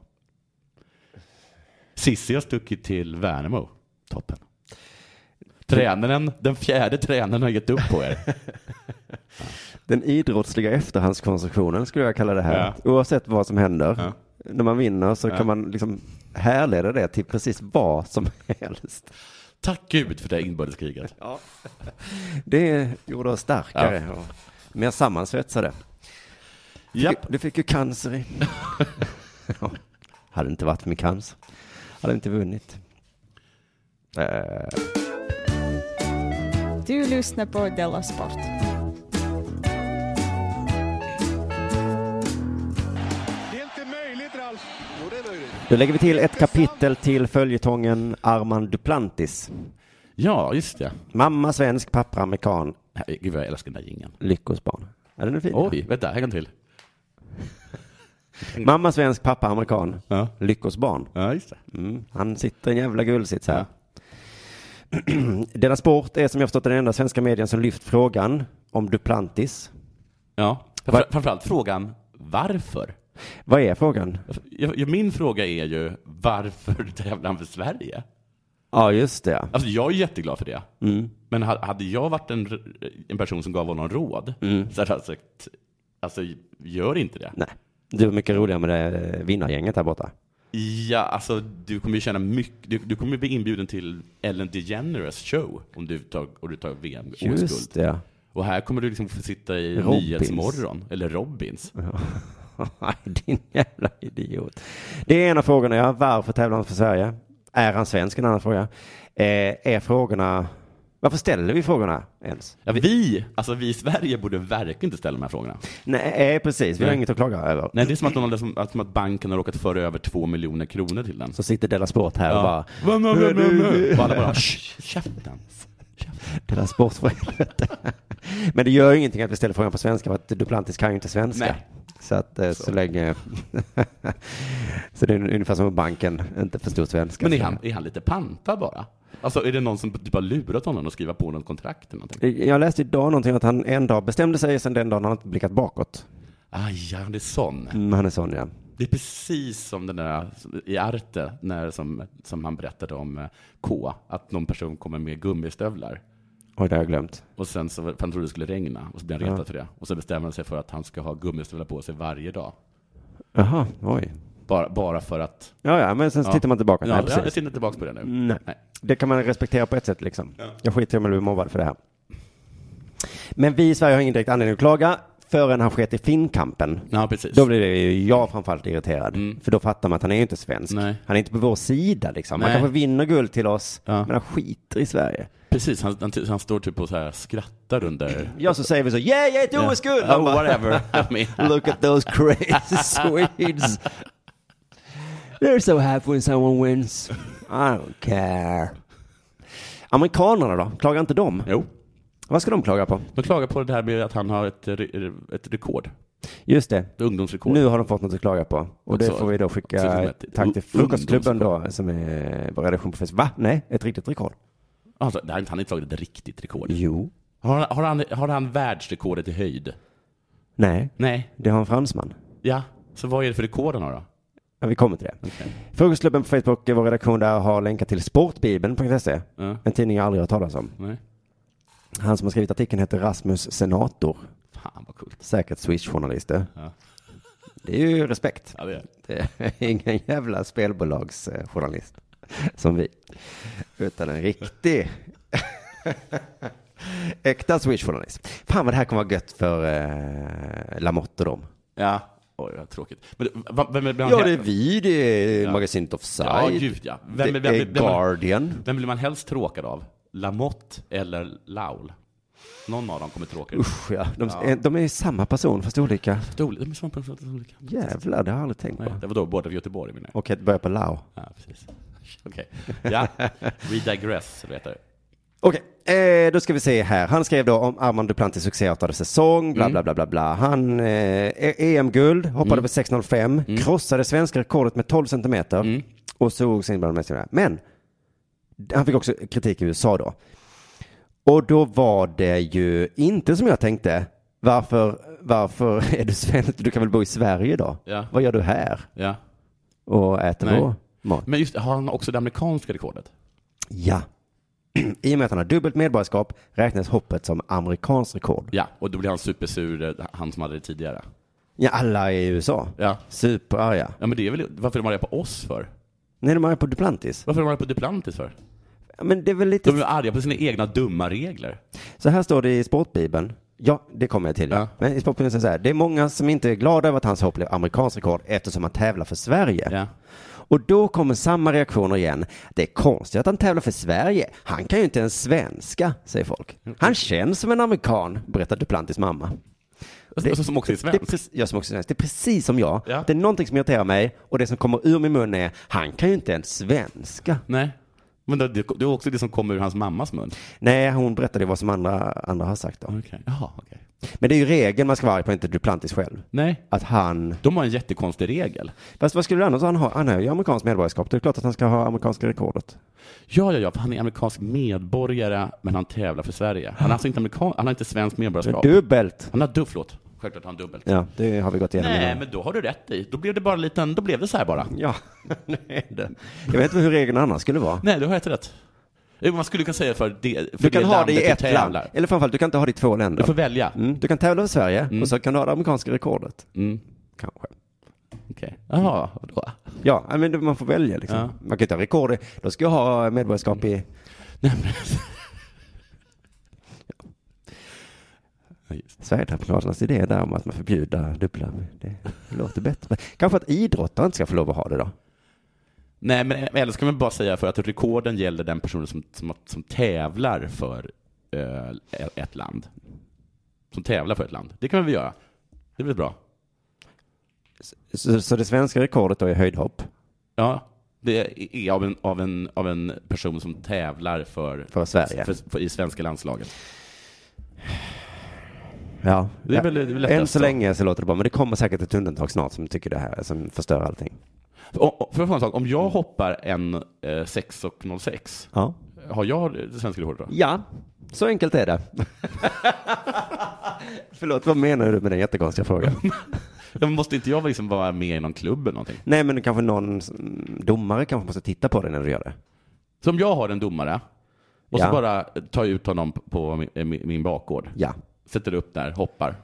Speaker 5: Sissi har stuckit till Värnamo. Toppen. Tränaren, den fjärde tränaren har gett upp på er. <laughs>
Speaker 4: Den idrottsliga efterhandskonstruktionen skulle jag kalla det här. Oavsett vad som händer. När man vinner så
Speaker 5: Ja.
Speaker 4: kan man liksom härleda det till precis vad som <laughs> helst.
Speaker 5: Tack Gud för det här inbördeskriget.
Speaker 4: Ja. Det gjorde oss starkare
Speaker 5: Ja.
Speaker 4: och mer sammansvetsade. Japp. Du fick ju cancer i. <laughs> ja. Hade det inte varit med cancer. Hade inte vunnit. Eh.
Speaker 6: Du lyssnar på Della Sport.
Speaker 4: Då lägger vi till ett kapitel till följetongen Armand Duplantis.
Speaker 5: Ja, just det.
Speaker 4: Mamma svensk, pappa amerikan.
Speaker 5: Gud vad jag älskar den där jingeln.
Speaker 4: Lyckos barn. Ja, den är fin.
Speaker 5: Oj, vänta, här kan till.
Speaker 4: Mamma svensk, pappa amerikan. Lyckos barn. Mm. Han sitter i en jävla guldsits <clears throat> här. Della Sport är som jag förstått den enda svenska medien som lyft frågan om Duplantis.
Speaker 5: Ja,
Speaker 4: Vad-
Speaker 5: Framför- framförallt frågan varför?
Speaker 4: Vad är frågan?
Speaker 5: Jag, jag, min fråga är ju varför <laughs> tävlar han för Sverige?
Speaker 4: Ja, just det.
Speaker 5: Alltså jag är jätteglad för det.
Speaker 4: Mm.
Speaker 5: Men ha- hade jag varit en, r- en person som gav honom råd
Speaker 4: Mm.
Speaker 5: så hade jag sagt, alltså gör inte det.
Speaker 4: Nej, det var mycket roligare med det eh, vinnargänget här borta.
Speaker 5: Ja, alltså du kommer ju känna mycket, du, du kommer ju bli inbjuden till Ellen DeGeneres show om du tar, om du tar VM
Speaker 4: Just
Speaker 5: OS-guld.
Speaker 4: <laughs> det.
Speaker 5: Och här kommer du liksom få sitta i
Speaker 4: Robins.
Speaker 5: Nyhetsmorgon, eller Robins.
Speaker 4: Nej, din jävla idiot. Det är en av frågorna, ja. Varför tävlar han för Sverige? Är han svensk? En annan fråga. Eh, är frågorna... Varför ställer vi frågorna ens?
Speaker 5: Ja, vi, alltså vi i Sverige borde verkligen inte ställa de här frågorna.
Speaker 4: Nej, eh, precis. Vi har
Speaker 5: Nej.
Speaker 4: inget att klaga över.
Speaker 5: Nej, det är som att, de, har liksom- att, som att banken har råkat föra över två miljoner kronor till den.
Speaker 4: Så sitter Della Sport här och bara...
Speaker 5: Vad, vad, vad, vad, vad? Och alla bara, "Shh,
Speaker 4: käften. Della Sport för helvete. Men det <laughs> gör ju ingenting att vi ställer frågan på svenska för att Duplantis kan ju inte svenska.
Speaker 5: Nej.
Speaker 4: Så att eh, så, länge... <laughs> så det är ungefär som om banken inte förstod svenska.
Speaker 5: Men är
Speaker 4: Så-
Speaker 5: han, är han lite pantad bara? Alltså är det någon som typ har lurat honom att skriva på något kontrakt eller någonting?
Speaker 4: Jag läste idag någonting att han en dag bestämde sig, sen den dagen har han inte blickat bakåt.
Speaker 5: Aj, han är sån.
Speaker 4: Mm, han är sån ja.
Speaker 5: Det är precis som den där i Arte, när, som, som han berättade om eh, K, att någon person kommer med gummistövlar.
Speaker 4: Oj, det har jag glömt.
Speaker 5: Och sen så, för han trodde det skulle regna, och så blev han
Speaker 4: Ja.
Speaker 5: retad för det. Och så bestämmer han sig för att han ska ha gummistövlar på sig varje dag.
Speaker 4: Jaha, oj.
Speaker 5: Bara, bara för att...
Speaker 4: Ja, ja, men sen så tittar man tillbaka.
Speaker 5: Ja,
Speaker 4: Nej,
Speaker 5: jag,
Speaker 4: precis.
Speaker 5: jag tittar tillbaka på det nu.
Speaker 4: Nej. Det kan man respektera på ett sätt liksom. Jag skiter i om jag blir mobbad för det här. Men vi i Sverige har ingen direkt anledning att klaga förrän han sket i finkampen.
Speaker 5: Ja, precis.
Speaker 4: Då blir det ju jag framförallt irriterad. För då fattar man att han är ju inte svensk.
Speaker 5: Mm. Nej.
Speaker 4: Han är inte på vår sida liksom. Han
Speaker 5: Nej.
Speaker 4: kanske vinner guld till oss, men han skiter i Sverige.
Speaker 5: Precis, han, han, han står typ och så här skrattar under...
Speaker 4: Ja, så säger vi så, yeah, yeah, it was good! Han
Speaker 5: Oh,
Speaker 4: bara,
Speaker 5: whatever. I
Speaker 4: <laughs>
Speaker 5: mean.
Speaker 4: Look at those crazy <laughs> Swedes. They're so happy when someone wins. I don't care. Amerikanerna då? Klagar inte de?
Speaker 5: Jo.
Speaker 4: Vad ska de klaga på?
Speaker 5: De klagar på det här med att han har ett, re- ett rekord.
Speaker 4: Just det.
Speaker 5: Ett ungdomsrekord.
Speaker 4: Nu har de fått något att klaga på. Och det
Speaker 5: Så-
Speaker 4: får vi då
Speaker 5: Alltså, så som
Speaker 4: skicka
Speaker 5: ett-
Speaker 4: tack till Frukostklubben då, som är vår redaktion på Facebook. Va? Nej, ett riktigt rekord.
Speaker 5: Alltså, det här, han har inte slagit ett riktigt rekord.
Speaker 4: Jo.
Speaker 5: Har, han- har, han, har han världsrekordet i höjd?
Speaker 4: Nej.
Speaker 5: Nej.
Speaker 4: Det har en fransman.
Speaker 5: Ja, så vad är det för rekord han har då?
Speaker 4: Ja, vi kommer till det. Frukostklubben på Facebook, vår redaktion där, har länkat till sportbibeln.se.
Speaker 5: Ja.
Speaker 4: En tidning jag aldrig har hört talas om.
Speaker 5: Nej.
Speaker 4: Han som har skrivit artikeln heter Rasmus Senator.
Speaker 5: Fan vad coolt.
Speaker 4: Säkert Swish-journalister.
Speaker 5: Ja.
Speaker 4: Det är ju respekt.
Speaker 5: Ja, det är.
Speaker 4: ingen jävla spelbolagsjournalist som vi. Utan en riktig <laughs> äkta Swish-journalist. Fan vad det här kommer vara gött för eh, Lamotte och dem.
Speaker 5: Ja. Oj, vad tråkigt. Men, det- va- vem, vem,
Speaker 4: Ja, det är vi, det är
Speaker 5: Ja.
Speaker 4: Magasinet Offside.
Speaker 5: Ja, gud ja. Vem,
Speaker 4: det
Speaker 5: vem,
Speaker 4: är
Speaker 5: vem,
Speaker 4: Guardian.
Speaker 5: Vem, vem blir man helst tråkad av? Lamotte eller Laul? Någon av dem kommer tråka ut.
Speaker 4: Usch ja. De, de är ju samma person fast olika.
Speaker 5: Stol, de är som på olika.
Speaker 4: Jävlar, det har jag aldrig tänkt
Speaker 5: Nej,
Speaker 4: på.
Speaker 5: det var då båda från Göteborg menar jag.
Speaker 4: Och att börja på Lao.
Speaker 5: Ja, precis. <laughs> Okej. Ja, we digress, vet du.
Speaker 4: Okej, eh, då ska vi se här. Han skrev då om Armand Duplantis succéartade säsong,
Speaker 5: Mm.
Speaker 4: bla bla bla bla bla. Han eh, EM-guld, hoppade på 6,05,
Speaker 5: Mm.
Speaker 4: krossade svenska rekordet med 12 centimeter och såg sin bland de mest. Men han fick också kritik i USA då. Och då var det ju inte som jag tänkte. Varför, <laughs> varför är du svensk? Du kan väl bo i Sverige då?
Speaker 5: Ja.
Speaker 4: Vad gör du här?
Speaker 5: Ja.
Speaker 4: Och äter
Speaker 5: Nej.
Speaker 4: då? Mat.
Speaker 5: Men just har han också det amerikanska rekordet?
Speaker 4: Ja. <clears throat> I och med att han har dubbelt medborgarskap räknas hoppet som amerikanskt rekord.
Speaker 5: Ja, och då blir han supersur, eh, han som hade det tidigare.
Speaker 4: Ja, alla är i USA.
Speaker 5: Ja.
Speaker 4: Superarga.
Speaker 5: Ja, men det är väl, varför är de arga på oss för?
Speaker 4: Nej, de är på Duplantis.
Speaker 5: Varför är de arga på Duplantis för?
Speaker 4: Men det är väl lite...
Speaker 5: De är arga på sina egna dumma regler.
Speaker 4: Så här står det i Sportbibeln. Ja, det kommer jag till. Ja. Men i Sportbibeln står det så här. Det är många som inte är glada över att hans hopp blev amerikanskt rekord eftersom han tävlar för Sverige. Och då kommer samma reaktioner igen. Det är konstigt att han tävlar för Sverige. Han kan ju inte ens svenska, säger folk. Han känns som en amerikan, berättar Duplantis mamma.
Speaker 5: Det, Alltså, som också är svensk.
Speaker 4: Det, är precis- jag som också är svensk. Det är precis som jag. Det är någonting som irriterar mig och det som kommer ur min mun är, han kan ju inte ens svenska.
Speaker 5: Nej. Men det, det är också det som kommer ur hans mammas mun.
Speaker 4: Nej, hon berättade vad som andra, andra har sagt då.
Speaker 5: Mm. Jaha, okej.
Speaker 4: Men det är ju regeln man ska vara arg på, inte Duplantis själv.
Speaker 5: Nej.
Speaker 4: Att han...
Speaker 5: De har en jättekonstig regel.
Speaker 4: Fast vad skulle du annars ha? Han har, han har ju amerikanskt medborgarskap. Det är klart att han ska ha amerikanska rekordet.
Speaker 5: Ja, ja, ja, för han är amerikansk medborgare, men han tävlar för Sverige. Han är alltså inte amerikan, han har inte svenskt medborgarskap.
Speaker 4: Dubbelt.
Speaker 5: Han har dubbelt, förlåt. Självklart har han dubbelt.
Speaker 4: Ja, det har vi gått igenom.
Speaker 5: Nej,
Speaker 4: innan.
Speaker 5: men då har du rätt i. Då blev det bara en liten, då blev det så här bara.
Speaker 4: Ja, <laughs> nej, det. Jag vet inte hur regeln annars skulle vara.
Speaker 5: Nej, du har helt rätt. Jo, Man skulle kunna säga för det, för
Speaker 4: Du kan
Speaker 5: det
Speaker 4: ha det i
Speaker 5: landet du
Speaker 4: ett land.
Speaker 5: tävlar.
Speaker 4: Eller framförallt, du kan inte ha det i två länder.
Speaker 5: Du får välja.
Speaker 4: Mm. Du kan tävla för Sverige och så kan du ha det amerikanska rekordet. Kanske.
Speaker 5: Mm. Okej. Jaha, vadå?
Speaker 4: Ja, nej, men det- man får välja liksom.
Speaker 5: Ja.
Speaker 4: Man kan inte ha rekord. i- Då ska jag ha medborgarskap i... Sverigedemokraternas idé där om att man förbjuder dubbla, det låter bättre. Kanske att idrottare inte ska få lov att ha det då?
Speaker 5: Nej, men eller ska man bara säga för att rekorden gäller den personen som, som, som tävlar för eh, ett land. Som tävlar för ett land. Det kan vi väl göra. Det blir bra.
Speaker 4: Så, så det svenska rekordet då är höjdhopp?
Speaker 5: Ja, det är av en, av en, av en person som tävlar för,
Speaker 4: För Sverige.
Speaker 5: för- för- I svenska landslaget.
Speaker 4: Ja.
Speaker 5: Det är väl- det är väl
Speaker 4: Än
Speaker 5: lättast
Speaker 4: så
Speaker 5: då.
Speaker 4: länge så låter det bra, men det kommer säkert ett undantag snart som tycker det här, som förstör allting.
Speaker 5: Och, och, för att få en sak, om jag hoppar en eh, 6,06,
Speaker 4: Ja.
Speaker 5: har jag det svenska rekordet då?
Speaker 4: Ja, så enkelt är det. <laughs> Förlåt, vad menar du med den jättekonstiga
Speaker 5: <laughs>
Speaker 4: frågan?
Speaker 5: Ja, men måste inte jag liksom vara med i någon klubb eller någonting?
Speaker 4: Nej, men kanske någon mm, domare kanske måste titta på det när du gör det.
Speaker 5: Så om jag har en domare och
Speaker 4: Ja.
Speaker 5: så bara tar jag ut honom på min, eh, min, min bakgård.
Speaker 4: Ja.
Speaker 5: Sätter upp där, hoppar.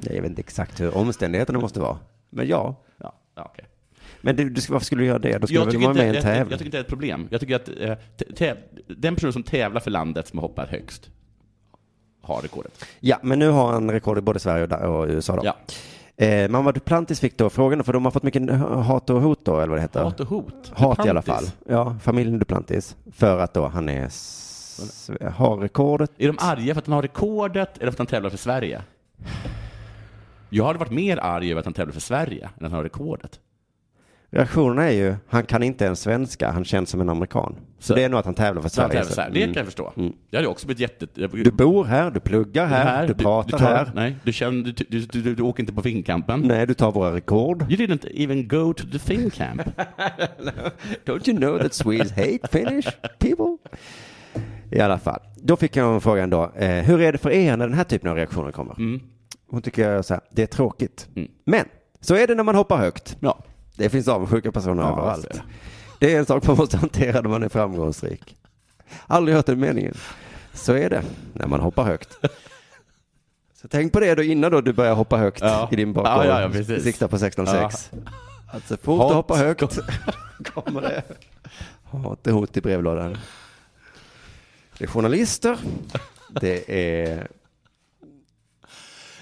Speaker 4: Jag vet inte exakt hur omständigheterna måste vara. Men ja.
Speaker 5: Ja, ja okej.
Speaker 4: Men du, du, ska- varför skulle du göra det? Då skulle
Speaker 5: Jag
Speaker 4: du
Speaker 5: tycker,
Speaker 4: vara med
Speaker 5: inte,
Speaker 4: i
Speaker 5: jag,
Speaker 4: en
Speaker 5: jag,
Speaker 4: tävling.
Speaker 5: jag tycker inte det är ett problem. Jag tycker att eh, tä- täv- den personen som tävlar för landet som hoppar högst har rekordet.
Speaker 4: Ja, men nu har han rekord i både Sverige och, da- och USA då. Ja. Eh, Mamma Duplantis fick då frågan, för de har fått mycket hat och hot då, eller vad det heter.
Speaker 5: Hat och hot?
Speaker 4: Hat i alla fall.
Speaker 5: Duplantis?
Speaker 4: Ja, familjen Duplantis. För att då han är, s- har rekordet.
Speaker 5: Är de arga för att han har rekordet eller för att han tävlar för Sverige? Jag hade varit mer arg över att han tävlar för Sverige än att han har rekordet.
Speaker 4: Reaktionerna är ju, han kan inte ens svenska, han känns som en amerikan. Så, det är nog att han tävlar för
Speaker 5: Så han
Speaker 4: Sverige. Mm.
Speaker 5: tävlar för Sverige. Det kan jag förstå. Jag hade också blivit jätte...
Speaker 4: Du bor här, du pluggar här, du pratar
Speaker 5: tar-
Speaker 4: här.
Speaker 5: Nej, du, känner, du, du, du, du, du åker inte på finkampen.
Speaker 4: Nej, du tar våra rekord.
Speaker 5: You didn't even go to the
Speaker 4: <laughs>
Speaker 5: fin camp.
Speaker 4: Don't you know that Swedes hate Finnish people? I alla fall. Då fick jag en fråga då. Eh, hur är det för er när den här typen av reaktioner kommer? Hon tycker så här, det är tråkigt. Men, så är det när man hoppar högt. Det finns avundsjuka personer
Speaker 5: Ja,
Speaker 4: överallt.
Speaker 5: jag ser det.
Speaker 4: Det är en sak man måste hantera när man är framgångsrik. Aldrig hört den meningen. Så är det när man hoppar högt. Så tänk på det då innan då du börjar hoppa högt
Speaker 5: Ja.
Speaker 4: i din bakgård.
Speaker 5: Ja, ja, ja, precis.
Speaker 4: Sikta på 16,6. Att så fort
Speaker 5: Hat.
Speaker 4: du hoppar högt <laughs> kommer det hat och hot i brevlådan. Det är journalister. Det är...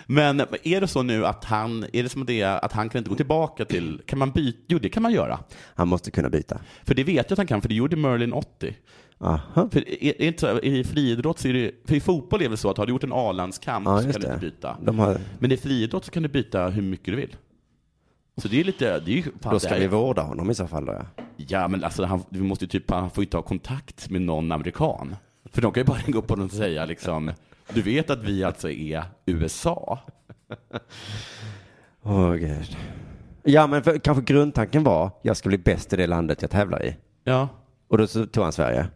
Speaker 5: Men men är det så nu att han, är det som det är att han kan inte gå tillbaka till, kan man byta? Jo, det kan man göra.
Speaker 4: Han måste kunna byta.
Speaker 5: För det vet jag att han kan, för det gjorde Merlin 80.
Speaker 4: Aha.
Speaker 5: För är, är inte så, i friidrott så är det, för i fotboll är det väl så att har du gjort en A-landskamp
Speaker 4: Ja,
Speaker 5: så
Speaker 4: just
Speaker 5: kan du inte
Speaker 4: det.
Speaker 5: byta.
Speaker 4: De har...
Speaker 5: Men i friidrott så kan du byta hur mycket du vill. Så det är lite, det är ju, fan,
Speaker 4: Då ska
Speaker 5: det
Speaker 4: vi
Speaker 5: här,
Speaker 4: vårda honom i så fall då ja.
Speaker 5: Ja men alltså han, vi måste ju typ, han får ju inte ha kontakt med någon amerikan. För de kan ju bara <laughs> gå upp på honom och säga liksom, du vet att vi alltså är USA.
Speaker 4: Åh gud. Ja men för, kanske grundtanken var, jag ska bli bäst i det landet jag tävlar i.
Speaker 5: Ja.
Speaker 4: Och då så tog han Sverige.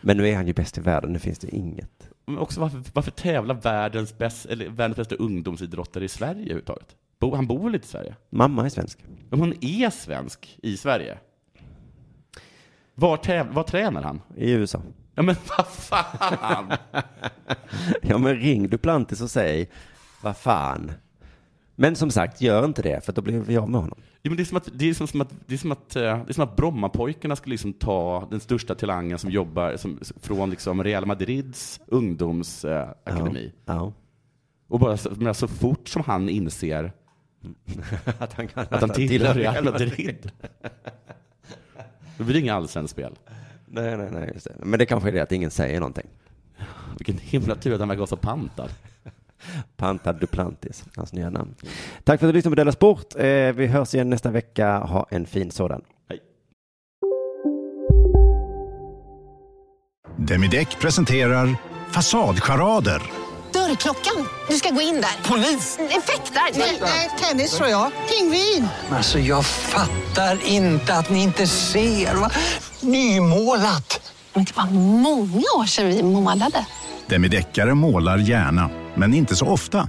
Speaker 4: Men nu är han ju bäst i världen, nu finns det inget.
Speaker 5: Men också varför, varför tävlar världens, bäst, eller världens bästa ungdomsidrottare i Sverige överhuvudtaget? Bo, han bor väl inte i Sverige?
Speaker 4: Mamma är svensk.
Speaker 5: Men hon är svensk i Sverige. Var, täv- var tränar han?
Speaker 4: I USA. <laughs>
Speaker 5: Ja, men <laughs> vad fan!
Speaker 4: ja, men ring Duplantis och säg vad fan. Men som sagt, gör inte det för då blir vi av med honom.
Speaker 5: Jo, men det är som att, det är som, som att, det är som att, eh, det är som att Brommapojkarna skulle liksom ta den största talangen som jobbar som, från liksom Real Madrids ungdomsakademi.
Speaker 4: Ja, ja.
Speaker 5: Och bara så, men så fort som han inser
Speaker 4: <laughs> att han, kan,
Speaker 5: att han tillhör Real Madrid. <laughs> Då blir det inga allsvenska spel.
Speaker 4: Nej, nej, nej, just det. Men det kanske är det att ingen säger någonting.
Speaker 5: Vilken himla tur att han verkar vara så pantad.
Speaker 4: Pantad Duplantis, hans nya namn. Tack för att du lyssnade på Della Sport. Eh, Vi hörs igen nästa vecka. Ha en fin sådan.
Speaker 13: Demideck presenterar Fasadcharader.
Speaker 14: Dörrklockan. Du ska gå in där. Polis? Effektar? Nej, tennis tror jag. Pingvin.
Speaker 15: Alltså jag fattar inte att ni inte ser. Va? Nymålat.
Speaker 16: Men det var många år sedan vi målade.
Speaker 13: Demideckare målar gärna, men inte så ofta.